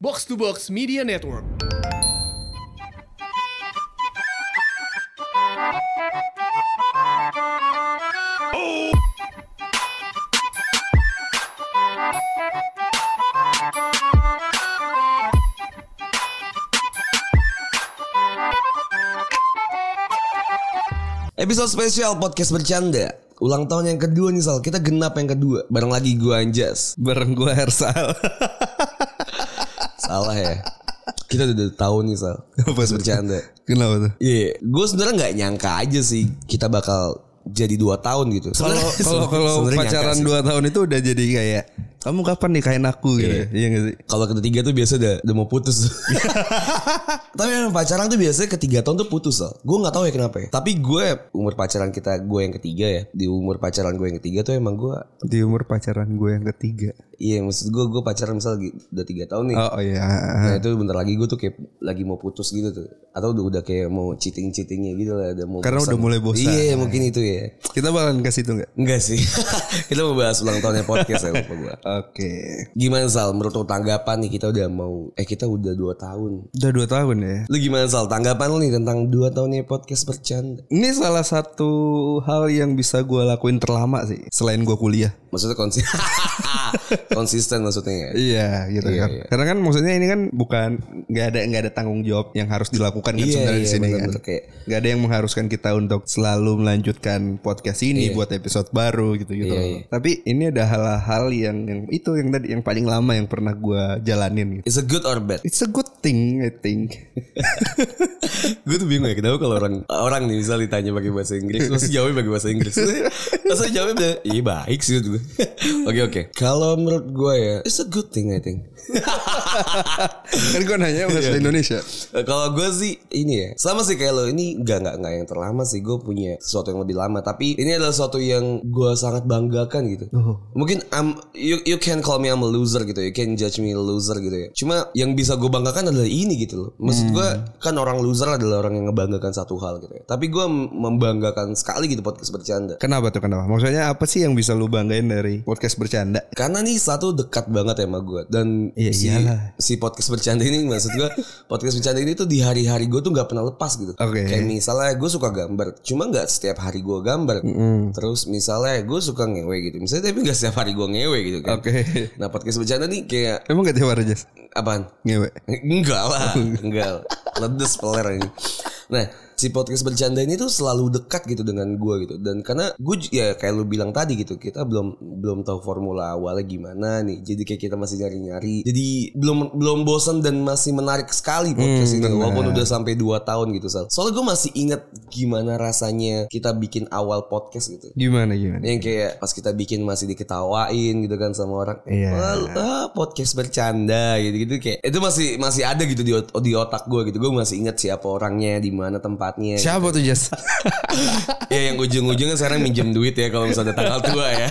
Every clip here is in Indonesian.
Box to Box Media Network. Episode spesial podcast bercanda Ulang tahun yang kedua nih Sal Kita genap yang kedua Bareng lagi gua Anjas Bareng gue Hersal Salah ya Kita udah, udah tahu nih Sal Podcast bercanda Kenapa tuh? Iya Gue sebenarnya gak nyangka aja sih Kita bakal jadi dua tahun gitu Kalau Sebenarnya- kalau kalau sebenarnya nyangka pacaran sih. 2 tahun itu udah jadi kayak kamu kapan nikahin aku gitu. ya? Iya gak sih? kalau ketiga tuh biasa udah, udah mau putus. Tapi yang pacaran tuh biasanya ketiga tahun tuh putus loh. Gue nggak tahu ya kenapa. ya. Tapi gue umur pacaran kita gue yang ketiga ya. Di umur pacaran gue yang ketiga tuh emang gue, Di umur pacaran gue yang ketiga. iya maksud gue gue pacaran misal gi- udah tiga tahun nih. Oh, oh iya. Nah itu bentar lagi gue tuh kayak lagi mau putus gitu tuh Atau udah, udah kayak mau cheating-cheatingnya gitu lah udah mau Karena udah mulai bosan. Iya mungkin itu ya Kita bakalan ke situ nggak? Enggak sih Kita mau bahas ulang tahunnya podcast ya lupa gue Oke. Gimana Sal menurut lo tanggapan nih kita udah mau Eh kita udah 2 tahun Udah 2 tahun ya. Lu gimana Sal tanggapan lo nih tentang 2 tahunnya podcast bercanda Ini salah satu hal yang bisa gue lakuin terlama sih selain gue kuliah. Maksudnya konsisten Konsisten maksudnya ya Iya gitu kan. Karena kan maksudnya ini kan bukan nggak ada nggak ada tanggung jawab yang harus dilakukan kan sebenarnya di sini kan. bener-bener kayak Gak ada yang mengharuskan kita untuk selalu melanjutkan podcast ini buat episode baru gitu-gitu. Iya, loh. Tapi ini ada hal-hal yang, yang itu yang tadi yang paling lama yang pernah gua jalanin gitu. It's a good or bad It's a good thing I think. gue tuh bingung ya kenapa kalau orang orang nih misal ditanya pakai bahasa Inggris terus jawabnya pakai bahasa Inggris terus jawabnya bilang iya baik sih gue oke oke kalau menurut gue ya it's a good thing I think kan gua nanya Iya, bahasa Indonesia. Nah, kalau gue sih ini ya sama sih kayak lo ini nggak nggak nggak yang terlama sih gue punya sesuatu yang lebih lama tapi ini adalah sesuatu yang gue sangat banggakan gitu mungkin I'm you you can call me I'm a loser gitu you can judge me a loser gitu ya cuma yang bisa gue banggakan adalah ini gitu loh maksud gue kan orang loser adalah orang yang ngebanggakan satu hal gitu ya tapi gue membanggakan sekali gitu podcast bercanda Kenapa tuh kenapa? Maksudnya apa sih yang bisa lu banggain dari podcast bercanda? Karena nih satu dekat banget ya sama gue dan Iya, si iyalah. si podcast bercanda ini maksud gue podcast bercanda ini tuh di hari-hari gue tuh nggak pernah lepas gitu. Oke. Kayak misalnya gue suka gambar, cuma nggak setiap hari gue gambar. Terus misalnya gue suka ngewe gitu, misalnya tapi nggak setiap hari gue ngewe gitu kan. Oke. Nah podcast bercanda nih kayak Emang gak tiap hari Jas? apaan? Ngewe. Enggak lah, enggak. Ledes peler ini. Nah, si podcast bercanda ini tuh selalu dekat gitu dengan gue gitu. Dan karena gue j- ya kayak lu bilang tadi gitu, kita belum belum tahu formula awalnya gimana nih. Jadi kayak kita masih nyari-nyari. Jadi belum belum bosan dan masih menarik sekali podcast ini walaupun udah sampai 2 tahun gitu, Sal. Soalnya gue masih ingat gimana rasanya kita bikin awal podcast gitu Gimana gimana? yang kayak pas kita bikin masih diketawain gitu kan sama orang Iya. Wah, ah, podcast bercanda gitu gitu kayak itu masih masih ada gitu di, ot- di otak gue gitu gue masih ingat siapa orangnya di mana tempatnya Siapa tuh Jas? ya yang ujung-ujungnya sekarang minjem duit ya kalau misalnya tanggal tua ya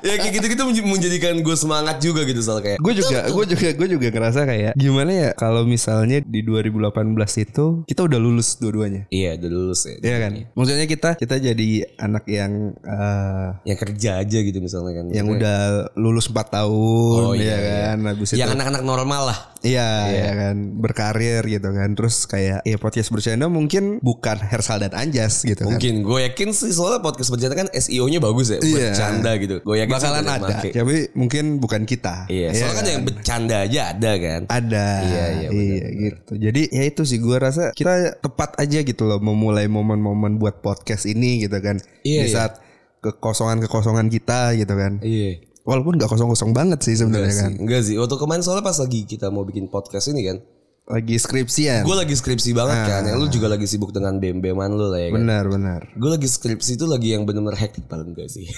ya kayak gitu gitu menjadikan gue semangat juga gitu soal kayak gue juga gue juga gue juga ngerasa kayak gimana ya kalau misalnya di 2018 itu kita udah lulus dua-duanya iya udah lulus ya Iya kan maksudnya kita kita jadi anak yang eh, yang kerja aja gitu misalnya kan yang udah lulus 4 tahun Oh, ya iya, kan habis itu yang anak-anak normal lah iya ya kan berkarir gitu kan terus kayak ya podcast bercanda mungkin bukan Hersal dan Anjas gitu kan mungkin gue yakin sih soalnya podcast bercanda kan SEO nya bagus ya Iya. bercanda gitu gue yakin sih bakalan udah ada make. tapi mungkin bukan kita Iya, Iya soalnya kan yang bercanda aja ada kan. ada Iya, iya, benar, gitu jadi ya itu sih gue rasa kita tepat aja gitu loh memulai momen-momen buat podcast ini gitu kan Iya, di iya. saat kekosongan kekosongan kita gitu kan Iya. walaupun nggak kosong-kosong banget sih Enggak sebenarnya sih, kan enggak sih. Waktu kemarin soalnya pas lagi kita mau bikin podcast ini kan, lagi skripsian gue lagi skripsi banget kan. Ya, lu juga lagi sibuk dengan bem-beman lu lah ya kan. benar benar Gue lagi skripsi itu lagi yang bener-bener hektik paling enggak sih.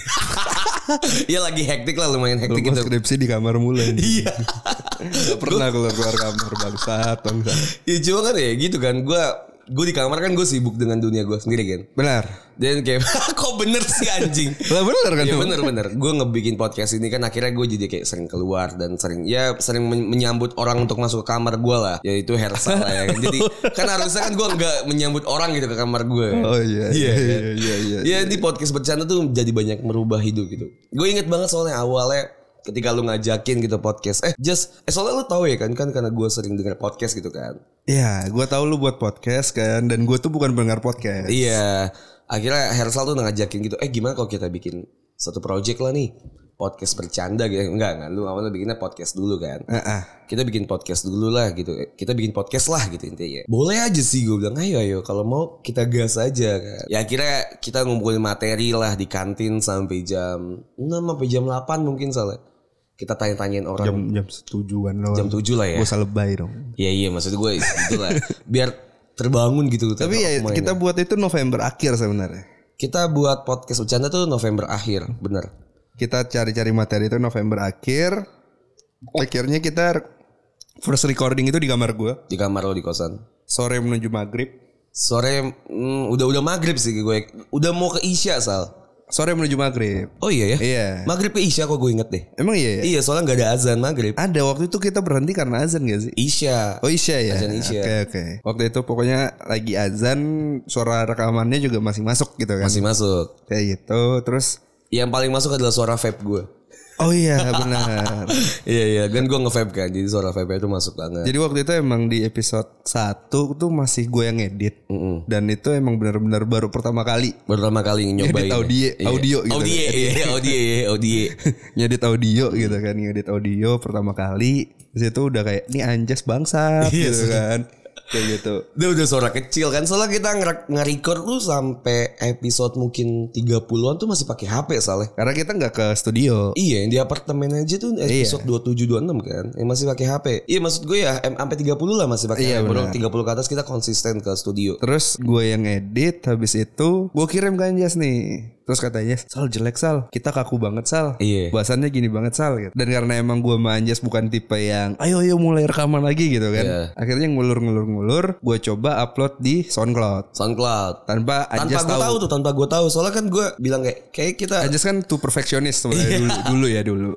Iya lagi hektik lah lumayan Lu hektik gua gitu. skripsi di kamar mulai Iya. Gak pernah keluar keluar kamar bangsat bangsat Iya cuma kan ya gitu kan. Gue gue di kamar kan gue sibuk dengan dunia gue sendiri kan. benar Dan kayak kok bener sih anjing. lah benar kan Iya tuh? bener-bener Gue ngebikin podcast ini kan akhirnya gue jadi kayak sering keluar Dan sering ya sering men- menyambut orang untuk masuk ke kamar gue lah Yaitu Hersa lah ya kan. Jadi kan harusnya kan gue nggak menyambut orang gitu ke kamar gue oh iya iya iya iya, iya. Ya di podcast bercanda tuh jadi banyak merubah hidup gitu Gue inget banget soalnya awalnya ketika lu ngajakin gitu podcast eh just eh soalnya lu tahu ya kan kan karena gue sering denger podcast gitu kan Iya, gue tahu lu buat podcast kan, dan gue tuh bukan pendengar podcast. Iya. Akhirnya Hersal tuh ngajakin gitu, eh gimana kalau kita bikin satu project lah nih. Podcast bercanda gitu. Enggak, enggak. Lu awalnya bikinnya podcast dulu kan. Heeh. Kita bikin podcast dulu lah gitu. Eh, Kita bikin podcast lah gitu intinya. Boleh aja sih gue bilang, ayo ayo. Kalau mau kita gas aja kan. Ya akhirnya kita ngumpulin materi lah di kantin sampai jam 6 sampai jam 8 mungkin salah. Kita tanya-tanyain orang. Jam jam setujuan lo. Jam 7 lah ya. Gue lebay dong. Iya iya maksud gue gitu lah. Biar terbangun gitu. Tapi ya otak mainnya. kita buat itu November akhir sebenarnya. Kita buat podcast bercanda tuh November akhir, bener. Kita cari-cari materi itu November akhir. Akhirnya kita first recording itu di kamar gue. Di kamar lo di kosan. Sore menuju maghrib. Sore mm, udah udah maghrib sih gue. Udah mau ke Isya sal. Sore menuju maghrib. Oh iya ya. Iya. Maghrib ke Isya kok gue inget deh. Emang iya ya? Iya soalnya nggak ada azan maghrib. Ada waktu itu kita berhenti karena azan gak sih? Isya. Oh Isya ya. Azan Isya. Oke oke. Waktu itu pokoknya lagi azan, suara rekamannya juga masih masuk gitu kan. Masih masuk. Kayak gitu. Terus Yang paling masuk adalah suara vape gue. Oh iya benar. iya iya. Kan gue nge-vape kan. Jadi suara vape itu masuk banget. Jadi waktu itu emang di episode 1 tuh masih gue yang edit. Mm-mm. Dan itu emang benar-benar baru pertama kali Pertama kali nyobain. Edit audio- Iya. audio gitu. Audio, iya, audio, iya, audio. ngedit audio gitu kan, ngedit audio pertama kali. Di situ udah kayak ini anjas bangsat Iya, gitu kan. Kayak gitu. Dia udah suara kecil kan. Soalnya kita nge- nge-record tuh sampai episode mungkin 30-an tuh masih pakai HP soalnya. Karena kita nggak ke studio. Iya yang di apartemen aja tuh Iya. episode 27-26 kan Yang masih pakai HP Iya maksud gue ya em- Sampai 30 lah masih pakai Iya, HP Baru benar. 30 ke atas kita konsisten ke studio Terus gue yang edit habis itu gue kirim ke Anjas nih. Terus katanya Sal jelek Sal, kita kaku banget Sal. Iya. Bahasannya gini banget Sal. Gitu. Dan karena emang gue sama Anjas bukan tipe yang ayo ayo mulai rekaman lagi gitu kan. Iya. Akhirnya ngulur-ngulur-ngulur gue coba upload di SoundCloud SoundCloud tanpa Tanpa Anjas gue tahu tahu. tuh Tanpa gue tahu Soalnya kan gue bilang kayak Kayak kita Anjas kan tuh perfeksionis Iya. sebenarnya dulu dulu ya dulu.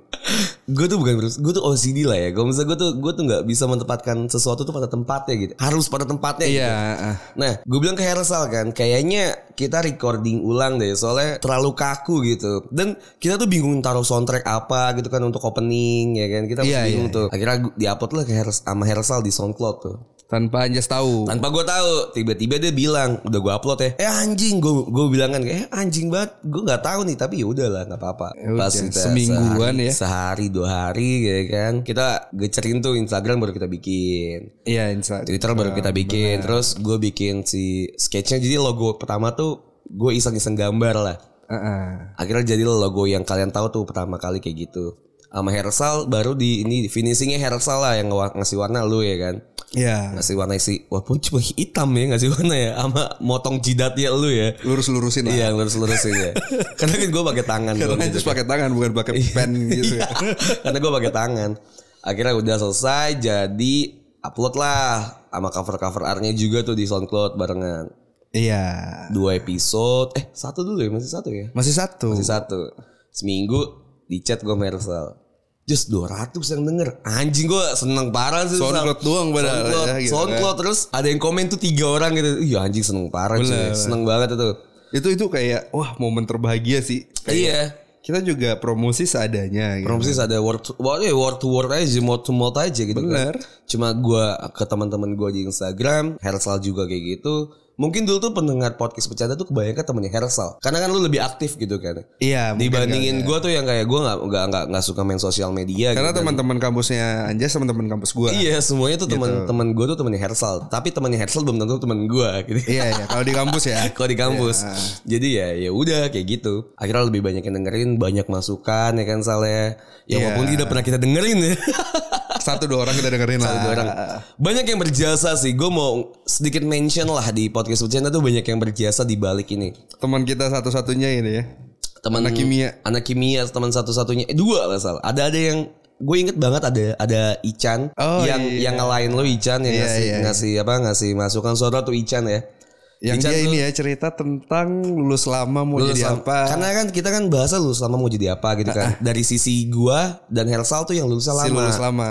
Gue tuh bukan berus- Gue tuh OCD lah ya Kalau misalnya gue tuh Gue tuh gak bisa menempatkan Sesuatu tuh pada tempatnya gitu Harus pada tempatnya gitu. Iya. ah. Nah, gue bilang ke Hersal kan, kayaknya kita recording ulang deh, soalnya terlalu kaku gitu. Dan kita tuh bingung taruh soundtrack apa gitu kan untuk opening ya kan, kita masih Iya, bingung iya, tuh. Akhirnya gu- diupload lah ke Hers sama Hersal di SoundCloud tuh. Tanpa Anjas tahu. Tanpa gue tahu, tiba-tiba dia bilang, udah gue upload ya. Eh anjing, gue gue bilang kan, eh anjing banget, gue nggak tahu nih, tapi ya udahlah nggak apa-apa. Ya udah, semingguan sehari, ya. sehari dua hari ya kan, kita gecerin tuh Instagram baru kita bikin. Iya Insta. Twitter baru kita bikin, terus gue bikin si sketchnya. Jadi logo pertama tuh gue iseng-iseng gambar lah. Ah, ah. Akhirnya jadi logo yang kalian tahu tuh pertama kali kayak gitu. Sama Hersal baru di ini finishingnya Hersal lah yang ngewa- ngasih warna lu ya kan. Iya. Ngasih warna isi walaupun cuma hitam ya ngasih warna ya sama motong jidatnya lu ya. Lurus-lurusin lah. Iya lurus-lurusin ya. Karena kan gue pakai tangan. Karena doang gitu. Anjas pakai tangan bukan pakai pen gitu. Iya, karena gue pakai tangan akhirnya udah selesai jadi upload lah sama cover cover artnya juga tuh di SoundCloud barengan Iya. dua episode eh satu dulu ya masih satu ya Masih satu. masih satu seminggu di chat gue Mersal just 200 yang denger anjing gue seneng parah sih Sal. SoundCloud doang padahal SoundCloud, ya, gitu kan. SoundCloud. terus ada yang komen tuh tiga orang gitu iya anjing seneng parah cuy seneng banget itu Itu itu kayak wah momen terbahagia sih. iya Kita juga promosi seadanya gitu. Promosis ada word to word, eh, word to word aja, mouth to mouth aja gitu. kan. Bener. Cuma gua ke teman-teman gua di Instagram, Hersal juga kayak gitu. Mungkin dulu tuh pendengar podcast bercanda tuh kebanyakan temennya Hersal. Karena kan lu lebih aktif gitu kan. Iya, mungkin Dibandingin gua tuh yang kayak gua nggak nggak nggak nggak suka main sosial media. Karena gitu. teman-teman kampusnya Anjas sama teman kampus gua. Iya, semuanya tuh Gitu. teman-teman gua tuh temennya Hersal. Tapi temennya Hersal belum tentu temen gua gitu. Iya, iya, kalau di kampus ya. Kalau di kampus. Jadi ya ya udah kayak gitu. Akhirnya lebih banyak yang dengerin, banyak masukan ya kan Saleh. Iya. Ya walaupun tidak pernah kita dengerin ya. Satu dua orang kita dengerin lah. Satu dua orang. ah, Banyak yang berjasa sih. Gue mau sedikit mention lah di podcast bercanda tuh banyak yang berjasa di balik ini. Teman kita satu-satunya ini ya. Teman Anak kimia. anak kimia teman satu-satunya eh, dua lah salah. Ada ada yang gue inget banget ada ada Ican Oh, yang iya. yang ngelain lo Ican yang Iya, ngasih iya, ngasih apa ngasih masukan saudara tuh Ican ya. Yang Ican dia tuh ini ya cerita tentang lulus lama mau lulus jadi lama- apa. Ah, Karena kan kita kan bahasa lulus lama mau jadi apa gitu kan. Dari sisi gua dan Hersal tuh yang lulusnya Si lama. lulus lama.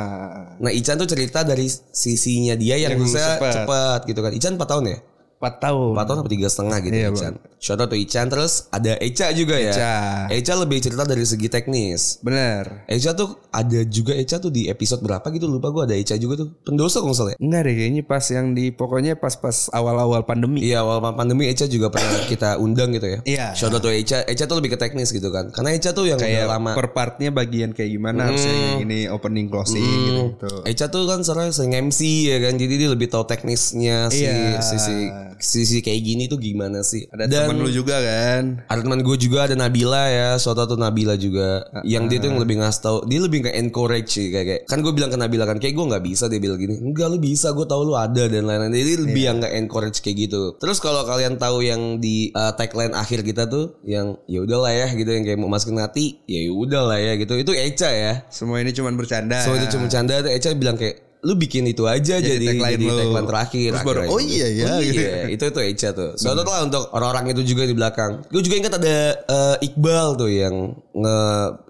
Nah Ican tuh cerita dari sisinya dia yang, Yang lulusnya lulus cepat. cepat gitu kan. Ican 4 tahun ya? 4 tahun. Empat tahun sampai tiga setengah gitu Iya, Ican. Shout out to Ican terus ada Eca juga ya. Eca. Eca lebih cerita dari segi teknis. Bener. Eca tuh ada juga Eca tuh di episode berapa gitu lupa gue ada Eca juga tuh pendosa kalau nggak salah ya. Enggak deh kayaknya pas yang di pokoknya pas-pas awal-awal pandemi. Iya awal pandemi Eca juga pernah kita undang gitu ya. Iya. Shout out to Eca. Eca tuh lebih ke teknis gitu kan. Karena Eca tuh yang udah Kayak lama. Iya, Hmm. per partnya bagian kayak gimana harusnya yang ini opening closing gitu. Eca tuh kan sekarang sering MC ya kan. Jadi dia lebih tahu teknisnya si Iya. sisi sisi kayak gini tuh gimana sih. Ada temen lu juga kan. Ada teman gue juga ada Nabila ya, suatu tuh Nabila juga. yang dia tuh yang lebih ngasih tau, dia lebih ke encourage sih kayak, kayak kan gue bilang ke Nabila kan kayak gue nggak bisa dia bilang gini, enggak lu bisa, gue tahu lu ada dan lain-lain. Jadi lebih yang nggak encourage kayak gitu. Terus kalau kalian tahu yang di uh, tagline akhir kita tuh yang ya udahlah ya gitu yang kayak mau masukin hati, ya udahlah ya gitu. Itu Eca ya. Semua ini cuman bercanda. So itu cuma canda tuh Eca bilang kayak lu bikin itu aja jadi jadi tagline tagline, lu. terakhir. Terus baru, akhirnya "Oh iya ya," Oh gitu. iya, itu itu Eca tuh. Shout out lah untuk orang-orang itu juga di belakang. Gue juga ingat ada eh, Iqbal tuh yang nge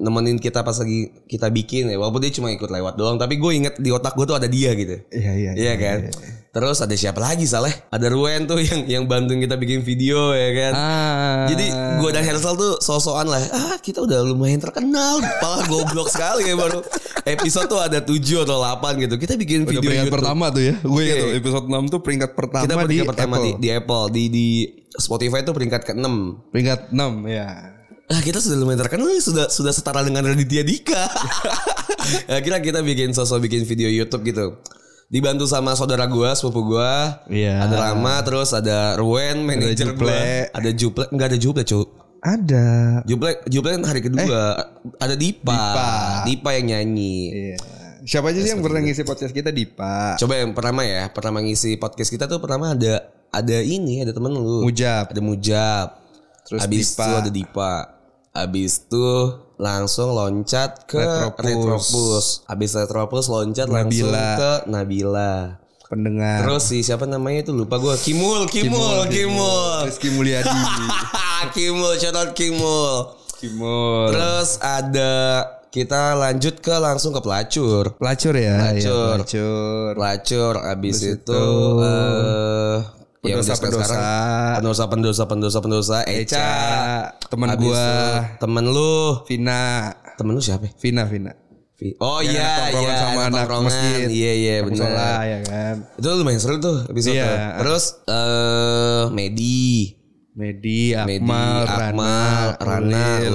nemenin kita pas lagi kita bikin ya. Walaupun dia cuma ikut lewat doang, tapi gue inget di otak gue tuh ada dia gitu. Iya iya. Iya kan? Terus ada siapa lagi Saleh? Ada Ruwen tuh yang yang bantuin kita bikin video ya kan. Ah. Jadi gue dan Hersal tuh sosokan lah. Ah kita udah lumayan terkenal. Pala goblok sekali ya baru. Episode tuh ada 7 atau 8 gitu. Kita bikin Udah video peringkat YouTube. pertama tuh ya. Gue ingat Oke. tuh episode 6 tuh peringkat pertama Kita di peringkat pertama Apple. di, di Apple. Di, di Spotify tuh peringkat ke-6. Peringkat 6 ya. Ah, kita sudah lumayan terkenal nih, sudah sudah setara dengan Raditya Dika. Akhirnya kita bikin sosok bikin video YouTube gitu. Dibantu sama saudara gua, sepupu gua. Iya. Ada Rama, terus ada Ruwen, manajer Juple. gua. Ada Juple. Enggak ada Juple, Cuk. Ada. Juple, Juple kan hari kedua ada Dipa. Dipa. Dipa. yang nyanyi. Iya. Siapa aja sih yang pernah ngisi podcast kita di Pak? Coba yang pertama ya, pertama ngisi podcast kita tuh pertama ada ada ini, ada temen lu. Mujab. Ada Mujab. Terus Abis Dipa. itu ada Dipa. Abis itu langsung loncat ke Retropus. Retropus. Abis Retropus loncat langsung Nabila. Nah. ke Nabila. Pendengar. Terus si siapa namanya itu lupa gua. Kimul, Kimul, Kimul. Rizky Mulyadi. Kimul, shout out Kimul. Kimul. Terus ada kita lanjut ke langsung ke pelacur. Pelacur ya. Pelacur. Ya, pelacur. pelacur abis itu itu, eh yang pendosa-pendosa. udah sekarang pendosa pendosa pendosa pendosa Eca Eca. Temen Abis gua. itu temen lu Vina. temen lu siapa ya? Vina, Vina. Vi- oh Yang iya ada tongkrongan iya sama ada anak tongkrongan. masjid. iya iya Musola benar ya kan. itu lumayan seru tuh episode Iya. terus eh Medi Medi, Medi Akmal, Akmal Rana, Rana Ulil,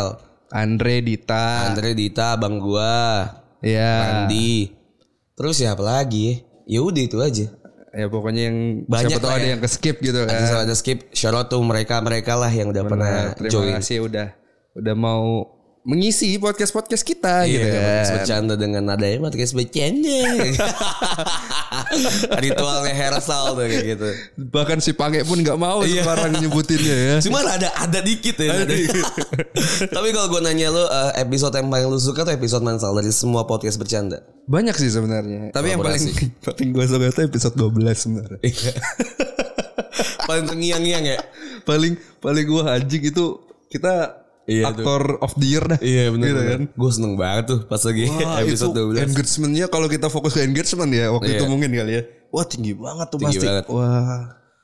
Ulil Andre, Dita, Andre Dita abang gua ya, Andi terus siapa lagi ya udah itu aja ya pokoknya yang Banyak siapa tahu lah ada ya. yang ke skip gitu Ada kan. salah ada skip. Shout out to mereka mereka lah yang udah pernah Nah, terima join. kasih udah udah mau mengisi podcast podcast kita Iya, gitu kan. podcast bercanda dengan nadanya podcast bercanda. Ritualnya Hersal tuh kayak gitu. Bahkan si Pange pun nggak mau sekarang nyebutinnya ya. Cuma ada ada dikit ya. Ada Tapi kalau gue nanya lu eh, episode yang paling lu suka tuh episode mansal dari semua podcast bercanda. Banyak sih sebenarnya. Tapi yang paling paling gue suka itu episode 12 sebenarnya. paling terngiang-ngiang ya. paling paling gue anjing itu kita Iya, aktor of the year dah. Gitu kan. Gue seneng banget tuh pas lagi Wah, episode itu 12. Engagementnya kalau kita fokus ke engagement ya waktu itu Iya. mungkin kali ya. Wah tinggi banget tuh Tinggi pasti. banget. Wah.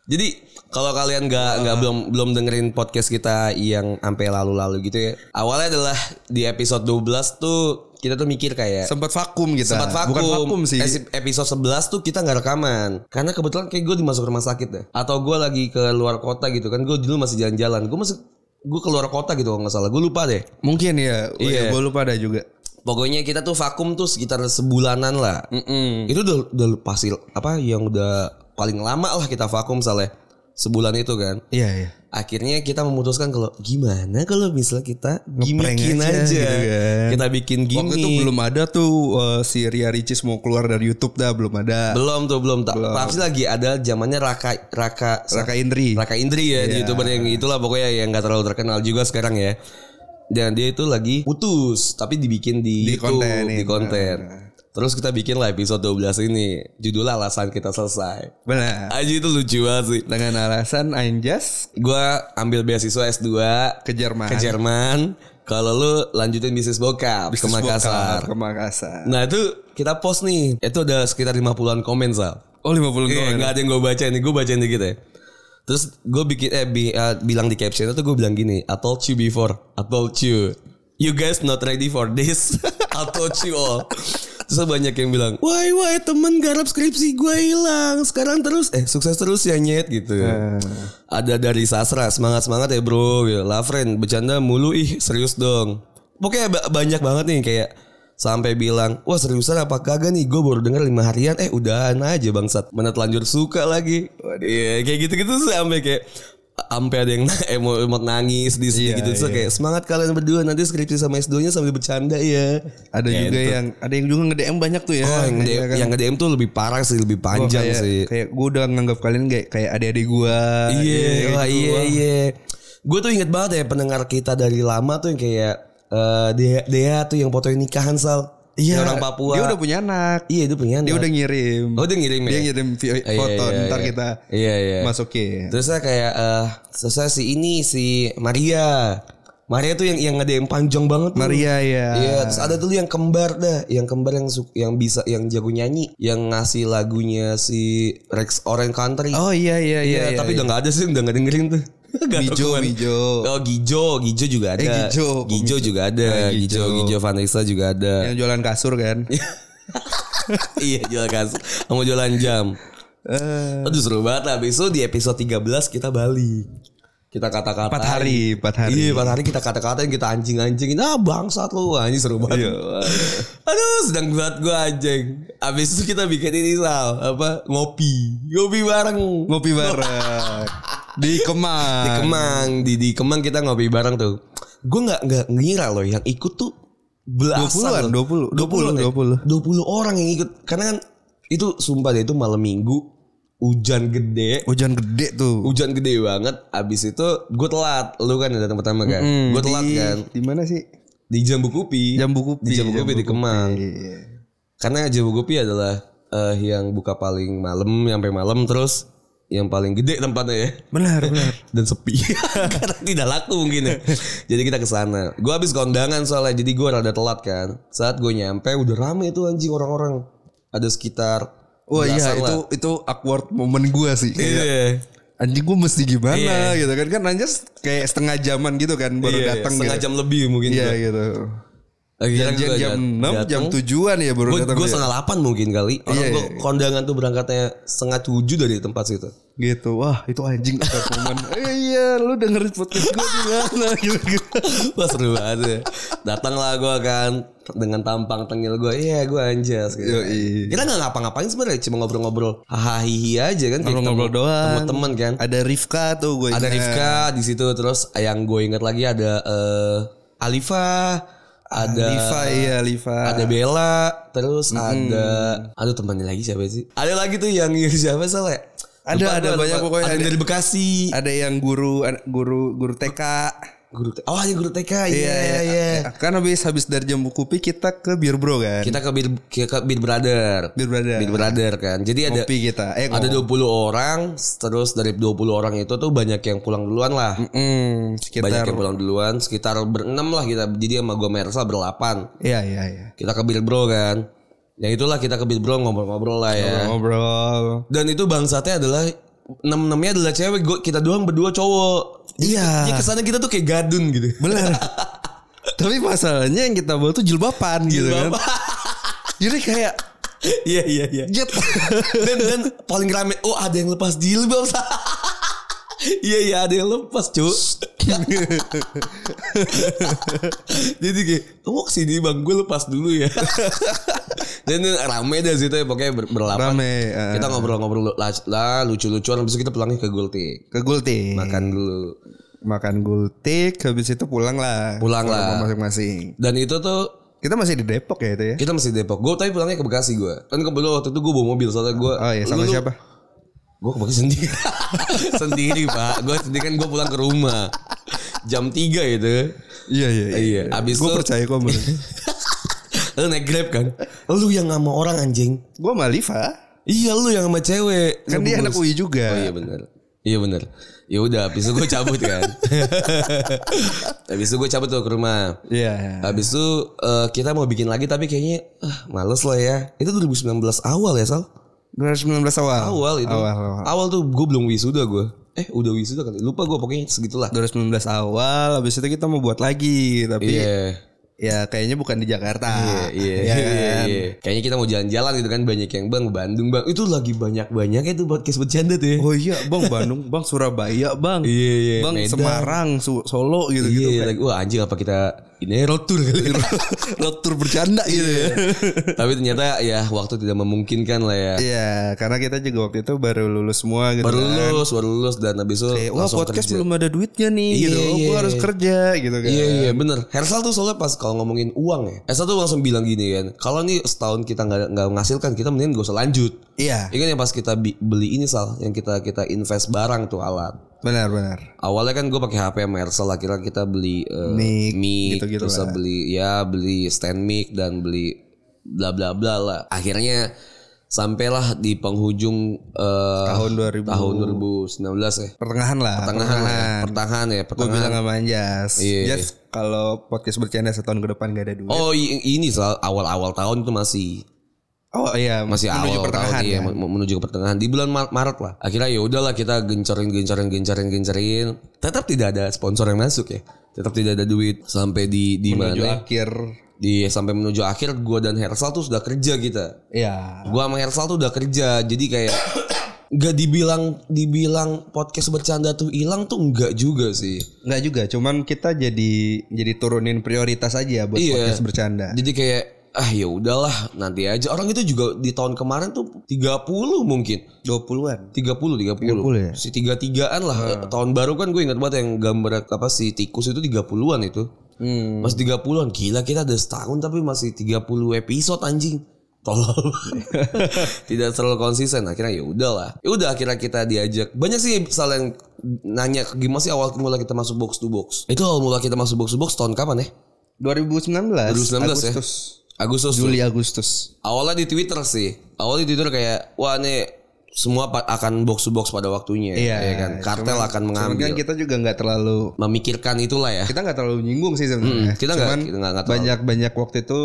Jadi kalau kalian nggak Ah. nggak belum belum dengerin podcast kita yang sampai lalu-lalu gitu ya. Awalnya adalah di episode 12 tuh kita tuh mikir kayak Sempat vakum kita. sempat vakum. Bukan vakum sih. Esi- Episode 11 tuh kita nggak rekaman karena kebetulan kayak gue dimasuk rumah sakit deh. Atau gue lagi ke luar kota gitu kan. Gue dulu masih jalan-jalan. Gue masih gue keluar kota gitu kalau nggak salah. Gue lupa deh. Mungkin ya. Iya. Iya. Gue lupa ada juga. Pokoknya kita tuh vakum tuh sekitar sebulanan lah. Mm-mm. Itu udah, udah pasti apa yang udah paling lama lah kita vakum misalnya sebulan itu kan. Iya iya. akhirnya kita memutuskan kalau gimana kalau misalnya kita Ngeprank gimmikin aja aja, gitu kan. kita bikin gimmick Waktu itu belum ada tuh eh, si Ria Ricis mau keluar dari YouTube dah belum ada. belum tuh belum tak pasti lagi ada zamannya raka raka Raka Iya. Indri. raka indri ya di youtuber yang itulah pokoknya yang nggak terlalu terkenal juga sekarang ya dan dia itu lagi putus tapi dibikin di, Di Nah, YouTube, kontenin. di konten terus kita bikin lah episode 12 ini judulnya alasan kita selesai Benar. aja itu lucu banget sih Dengan alasan Anjas gue ambil beasiswa S2 ke Jerman. ke Jerman. Kalau lu lanjutin bisnis bokap ke Makassar. Ke Makassar. Nah itu kita post nih. Itu ada sekitar 50-an komen, Sal. Oh 50 Iya, dolar. nggak ada yang gue baca ini. Gue bacain dikit ya. Terus gue bikin eh bi- eh, bilang di caption itu gue bilang gini, I told you before, I told you, you guys not ready for this, I told you all. Terus banyak yang bilang, wah wah temen garap skripsi gue hilang, sekarang terus eh sukses terus ya nyet gitu. Ada dari Sasra, semangat semangat ya bro, gitu. Lafren bercanda mulu ih serius dong. Pokoknya ba- banyak banget nih kayak sampai bilang wah seriusan apa kagak nih gue baru denger lima harian eh udahan aja bangsat mana telanjur suka lagi Waduh, ya, kayak gitu gitu sampai kayak sampai ada yang na- emo emot nangis di sini Iya, gitu Terus kayak semangat kalian berdua nanti skripsi sama S2 nya sambil bercanda ya Ada juga yang ada yang juga nge-DM banyak tuh ya. oh, yang, nge- Iya kan? Oh, iya. yang nge-DM tuh lebih parah sih lebih Wah, panjang kayak, sih Kayak gue udah nganggap kalian kayak kayak adik-adik ya gue. Iya, wah, gitu. iya, iya. Gue tuh inget banget ya pendengar kita dari lama tuh yang kayak eh dia dia tuh yang fotoin nikahan sal. Yang orang Papua. Iya. Dia udah punya anak. iya dia punya. Dia anak. udah ngirim. Oh, dia ngirim Dia ya? ngirim video, Iya, foto. iya, Ntar iya. kita Iya iya. masukin. Terus saya kayak eh terus saya si ini si Maria. Maria tuh yang yang ada yang panjang banget. tuh. Maria ya. Iya, terus ada dulu yang kembar dah, yang kembar yang su- yang bisa yang jago nyanyi, yang ngasih lagunya si Rex Orange Country. Oh iya iya iya. Iya, iya, tapi iya. udah gak ada sih, udah gak dengerin tuh. Gak tau Mijo, kemana. Mijo. Oh Gijo, Gijo juga ada. Eh, Gijo. Gijo juga ada. Ah, Gijo. Gijo, Gijo Vanessa juga ada. yang jualan kasur kan. iya jualan kasur, sama jualan jam. Eh, Aduh seru banget lah. Besok di episode 13 kita balik. Kita kata-kata. Empat hari, empat hari. Iya, empat hari kita kata-katain, kita anjing-anjingin. Ah, bangsat lu. Anjing seru banget. Iya. Aduh, sedang buat gue anjing. Abis itu kita bikin ini, Sal. Apa? Ngopi. Ngopi bareng. ngopi bareng di Kemang. Di Kemang. Di, di Kemang kita ngopi bareng tuh. Gue gak, nggak ngira loh yang ikut tuh belasan 20-an, loh. 20, eh. 20, 20, 20 orang yang ikut. Karena kan itu sumpah deh itu malam minggu. Hujan gede. Hujan gede tuh. hujan gede banget abis itu gue telat lu kan datang pertama kan gue telat di, kan Di mana sih? di jambu kopi Jambu Kopi. di jambu, kopi di Kemang Iya. karena jambu kopi adalah eh, yang buka paling malam sampai malam terus yang paling gede tempatnya ya Benar, benar. dan sepi karena tidak laku mungkin ya. jadi kita ke sana gue habis kondangan soalnya jadi gue rada telat kan saat gue nyampe udah rame itu anjing orang-orang ada sekitar Wah iya belasan itu lah. itu awkward momen gua sih. Kayak, Iya. Anjing gua mesti gimana gitu kan kan anjas kayak setengah jaman gitu kan baru Iya, datang setengah gitu. jam lebih mungkin Iya gua. gitu. Akhirnya Jam, gua jam dat- 6 jam datang. 7-an ya baru Gue datang. gue dia. setengah delapan mungkin kali. Orang Iya, gua iya. kondangan tuh berangkatnya setengah tujuh dari tempat situ. Gitu. Wah, itu anjing awkward momen. Eh, iya, lu dengerin podcast gua di mana gitu. gitu. Wah seru banget. ya. Datanglah gue kan dengan tampang tengil gue. Iya gue anjas. Gitu. Yoi. Kita nggak ngapa-ngapain sebenarnya, cuma ngobrol-ngobrol, hahaha aja kan. kayak Ngobrol-ngobrol ketemu- doang. ketemu temen kan. Ada Rifka tuh gue Ada ingat. Rifka di situ terus yang gue inget lagi ada eh, Alifa, ada Liva iya Liva ada Bella terus ada aduh temannya lagi siapa sih ada lagi tuh yang yang siapa salah Ada, ada banyak pokoknya. ada yang Ada- dari Bekasi ada yang guru an- guru guru TK guru T- oh ada guru TK iya iya kan habis habis dari Jambu Kupi kita ke Bir Bro kan kita ke Beat, ke, ke Beat Brother Bir Brother Beat Brother kan jadi ada Kopi kita eh ada 20 orang terus dari 20 orang itu tuh banyak yang pulang duluan lah banyak mm, sekitar yang pulang duluan sekitar berenam lah kita jadi sama gue Mersa berlapan iya iya iya kita ke Beat Bro kan yang itulah kita ke Beat Bro ngobrol-ngobrol lah ya ngobrol Dan itu bangsatnya adalah enam enamnya adalah cewek. Gua, kita doang berdua cowok. Jadi- Iya. Jadi kesannya kita tuh kayak gadun gitu. benar tapi masalahnya yang kita bawa tuh jilbaban gitu kan jadi kayak Iya iya iya. jet Dan dan paling rame. Oh ada yang lepas jilbab. Iya iya ada yang lepas cuy. Jadi kayak kamu kesini bang gue lepas dulu ya. dan, dan rame dah situ ya pokoknya ber- berlapan. rame eh. Kita ngobrol-ngobrol lah, lah, lucu-lucuan. Habis itu kita pulangnya ke Gultik. ke Gultik Makan dulu. makan Gultik habis itu pulang lah Pulang Ke lah. rumah masing-masing Dan itu tuh kita masih di Depok ya itu ya Kita masih Depok. Gue tapi pulangnya ke Bekasi gue. Kan kebetulan waktu itu gue bawa mobil soalnya gue. Oh iya sama siapa? Gue ke Bekasi sendiri. sendiri pak. Gue sendiri kan gue pulang ke rumah. Jam 3 itu. Iya iya Iya, abis gue itu- percaya kok bener. Lu naik grab kan? Lu yang sama orang anjing. gue sama Liva, Iya lu yang sama cewek. kan dia anak Ngebungkus. UI juga. Oh iya benar. Iya benar. Ya udah, habis itu gue cabut kan. habis itu gue cabut tuh ke rumah. Iya. Habis itu eh, kita mau bikin lagi tapi kayaknya ah, males lah ya. Itu 2019 awal ya Sal? 2019 awal. awal itu Awal, awal. awal tuh gue belum wisuda gue eh udah wisuda kan lupa gue pokoknya segitulah 2019 awal habis itu kita mau buat lagi tapi iya ya kayaknya bukan di Jakarta. iya iya Ya iya, kan? iya. kayaknya kita mau jalan-jalan gitu kan banyak yang bang Bandung bang itu lagi banyak banyak itu podcast bercanda tuh ya Oh iya, Bang Bandung, Bang Surabaya, Bang. iya iya Bang Medan. Semarang, Su- Solo gitu-gitu. iya, like, wah anjing apa kita ini road tour kali ya?" Iya. Road tour bercanda gitu ya. tapi ternyata ya waktu tidak memungkinkan lah ya Iya, karena kita juga waktu itu baru lulus semua gitu. baru kan. lulus baru lulus dan habis itu Eh, Wah langsung podcast kerja. belum ada duitnya nih Iya, gitu. Oh, iya. Gua harus kerja gitu kan. Iya iya bener Hersal tuh soalnya pas kalau ngomongin uang ya Hersal tuh langsung bilang gini kan Kalau nih setahun kita nggak nggak menghasilkan Kita mending gak usah lanjut Iya, Ingat yang pas kita bi- beli ini Sal Yang kita kita invest barang tuh alat benar benar. Awalnya kan gue pakai HP sama Hersal Akhirnya kita beli eh, Mic, mic, gitu-gitu Terus beli ya beli stand mic Dan beli bla bla bla lah Akhirnya Sampailah di penghujung eh, Tahun 2000 tahun 2019 ya pertengahan lah, Pertengahan ya Pertengahan ya Gue pertengahan. bilang sama Anjas, Iya. Jas kalau podcast bercanda setahun ke depan gak ada duit. Oh i- ini Sal Awal-awal tahun itu masih Oh iya, masih awal menuju pertengahan tahun iya, kan? men- menuju ke pertengahan di bulan Mar- Maret lah akhirnya ya udahlah kita gencorin gencorin gencorin gencorin tetap tidak ada sponsor yang masuk ya tetap tidak ada duit sampai di di menuju mana akhir. di sampai menuju akhir gue dan Hersal tuh sudah kerja kita Iya. gue sama Hersal tuh udah kerja jadi kayak Gak dibilang dibilang podcast bercanda tuh hilang tuh enggak juga sih. Enggak juga, cuman kita jadi jadi turunin prioritas aja ya buat Iya. podcast bercanda. Jadi kayak ah ya udahlah nanti aja. Orang itu juga di tahun kemarin tuh 30 mungkin. 30 20-an. 30 ya? Iya. 30. Si 33-an lah. Tahun baru kan gue ingat banget yang gambar apa si tikus itu 30-an itu. Hmm. Masih 30-an. Gila kita ada setahun tapi masih 30 episode anjing. Tolol. Tidak terlalu konsisten. Akhirnya ya udahlah. Ya udah akhirnya kita diajak. Banyak sih salah yang nanya gimana sih awal mula kita masuk box to box. Itu awal mula kita masuk box to box tahun kapan ya? 2019 2019. ya? Agustus. Agustus. ya. tuh. Juli Agustus. Awalnya di Twitter sih. Awalnya di Twitter kayak wah nih semua pa- akan box to box pada waktunya ya kan. Kartel Iya, cuman- akan cuman mengambil. kan kita juga nggak terlalu memikirkan itulah ya. kita nggak terlalu nyinggung sih Hmm, sebenarnya. kita nggak- Cuman kita nggak- nggak terlalu. banyak-banyak waktu itu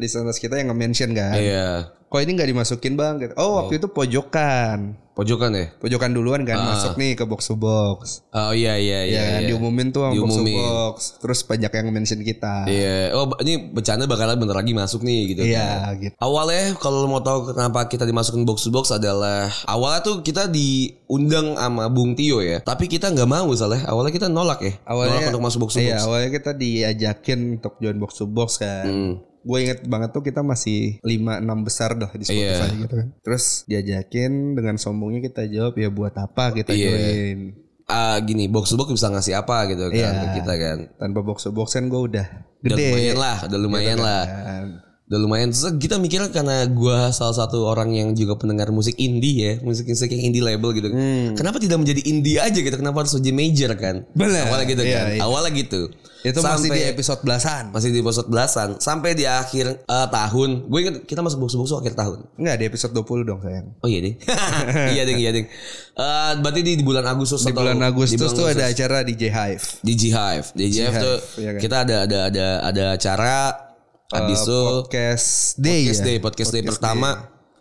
listeners kita yang nge-mention kan. Iya, Kok ini nggak dimasukin bang? Gitu. Oh, waktu itu pojokan. pojokan ya. Pojokan duluan kan masuk nih ke box to box. Oh iya iya iya. Ya, kan, iya. diumumin tuh sama box to Diumumin. box. Terus banyak yang mention kita. Iya. Oh ba- ini bercanda bakalan bentar lagi masuk nih gitu. kan. Iya, gitu. Awalnya kalau lo mau tahu kenapa kita dimasukin box to box adalah awalnya tuh kita diundang sama Bung Tio ya. Tapi kita nggak mau salah. Awalnya kita nolak ya. nolak Awalnya untuk masuk box to box. Iya, awalnya kita diajakin untuk join box to box kan. Hmm. Gue inget banget tuh kita masih 5-6 besar dah di Spotify Iya. gitu kan. Terus diajakin dengan sombongnya kita jawab ya buat apa kita Iya. join. Ah, gini box to box bisa ngasih apa gitu kan Iya. ke kita kan. Tanpa box to box kan gue udah Udah gede. Gitu lumayan lah, udah lumayan lah. kan. Udah lumayan Terus kita mikirnya karena gua salah satu orang yang juga pendengar musik indie ya Musik musik yang indie label gitu Hmm. Kenapa tidak menjadi indie aja gitu Kenapa harus jadi major kan Bener. Awalnya gitu Iya, kan iya. Awalnya gitu Itu masih di episode belasan. masih di episode belasan Sampai di akhir eh, tahun Gue inget kita masuk box-box akhir tahun Enggak di episode 20 dong sayang. Oh iya ding Iya ding iya ding Eh, Berarti di, di bulan Agustus Di atau bulan Agustus di bulan tuh ada acara di J Hive. di G Hive Di G Hive tuh iya kan. Eh, Kita ada ada ada ada acara Habis itu podcast podcast day ya. Ah, day podcast, day pertama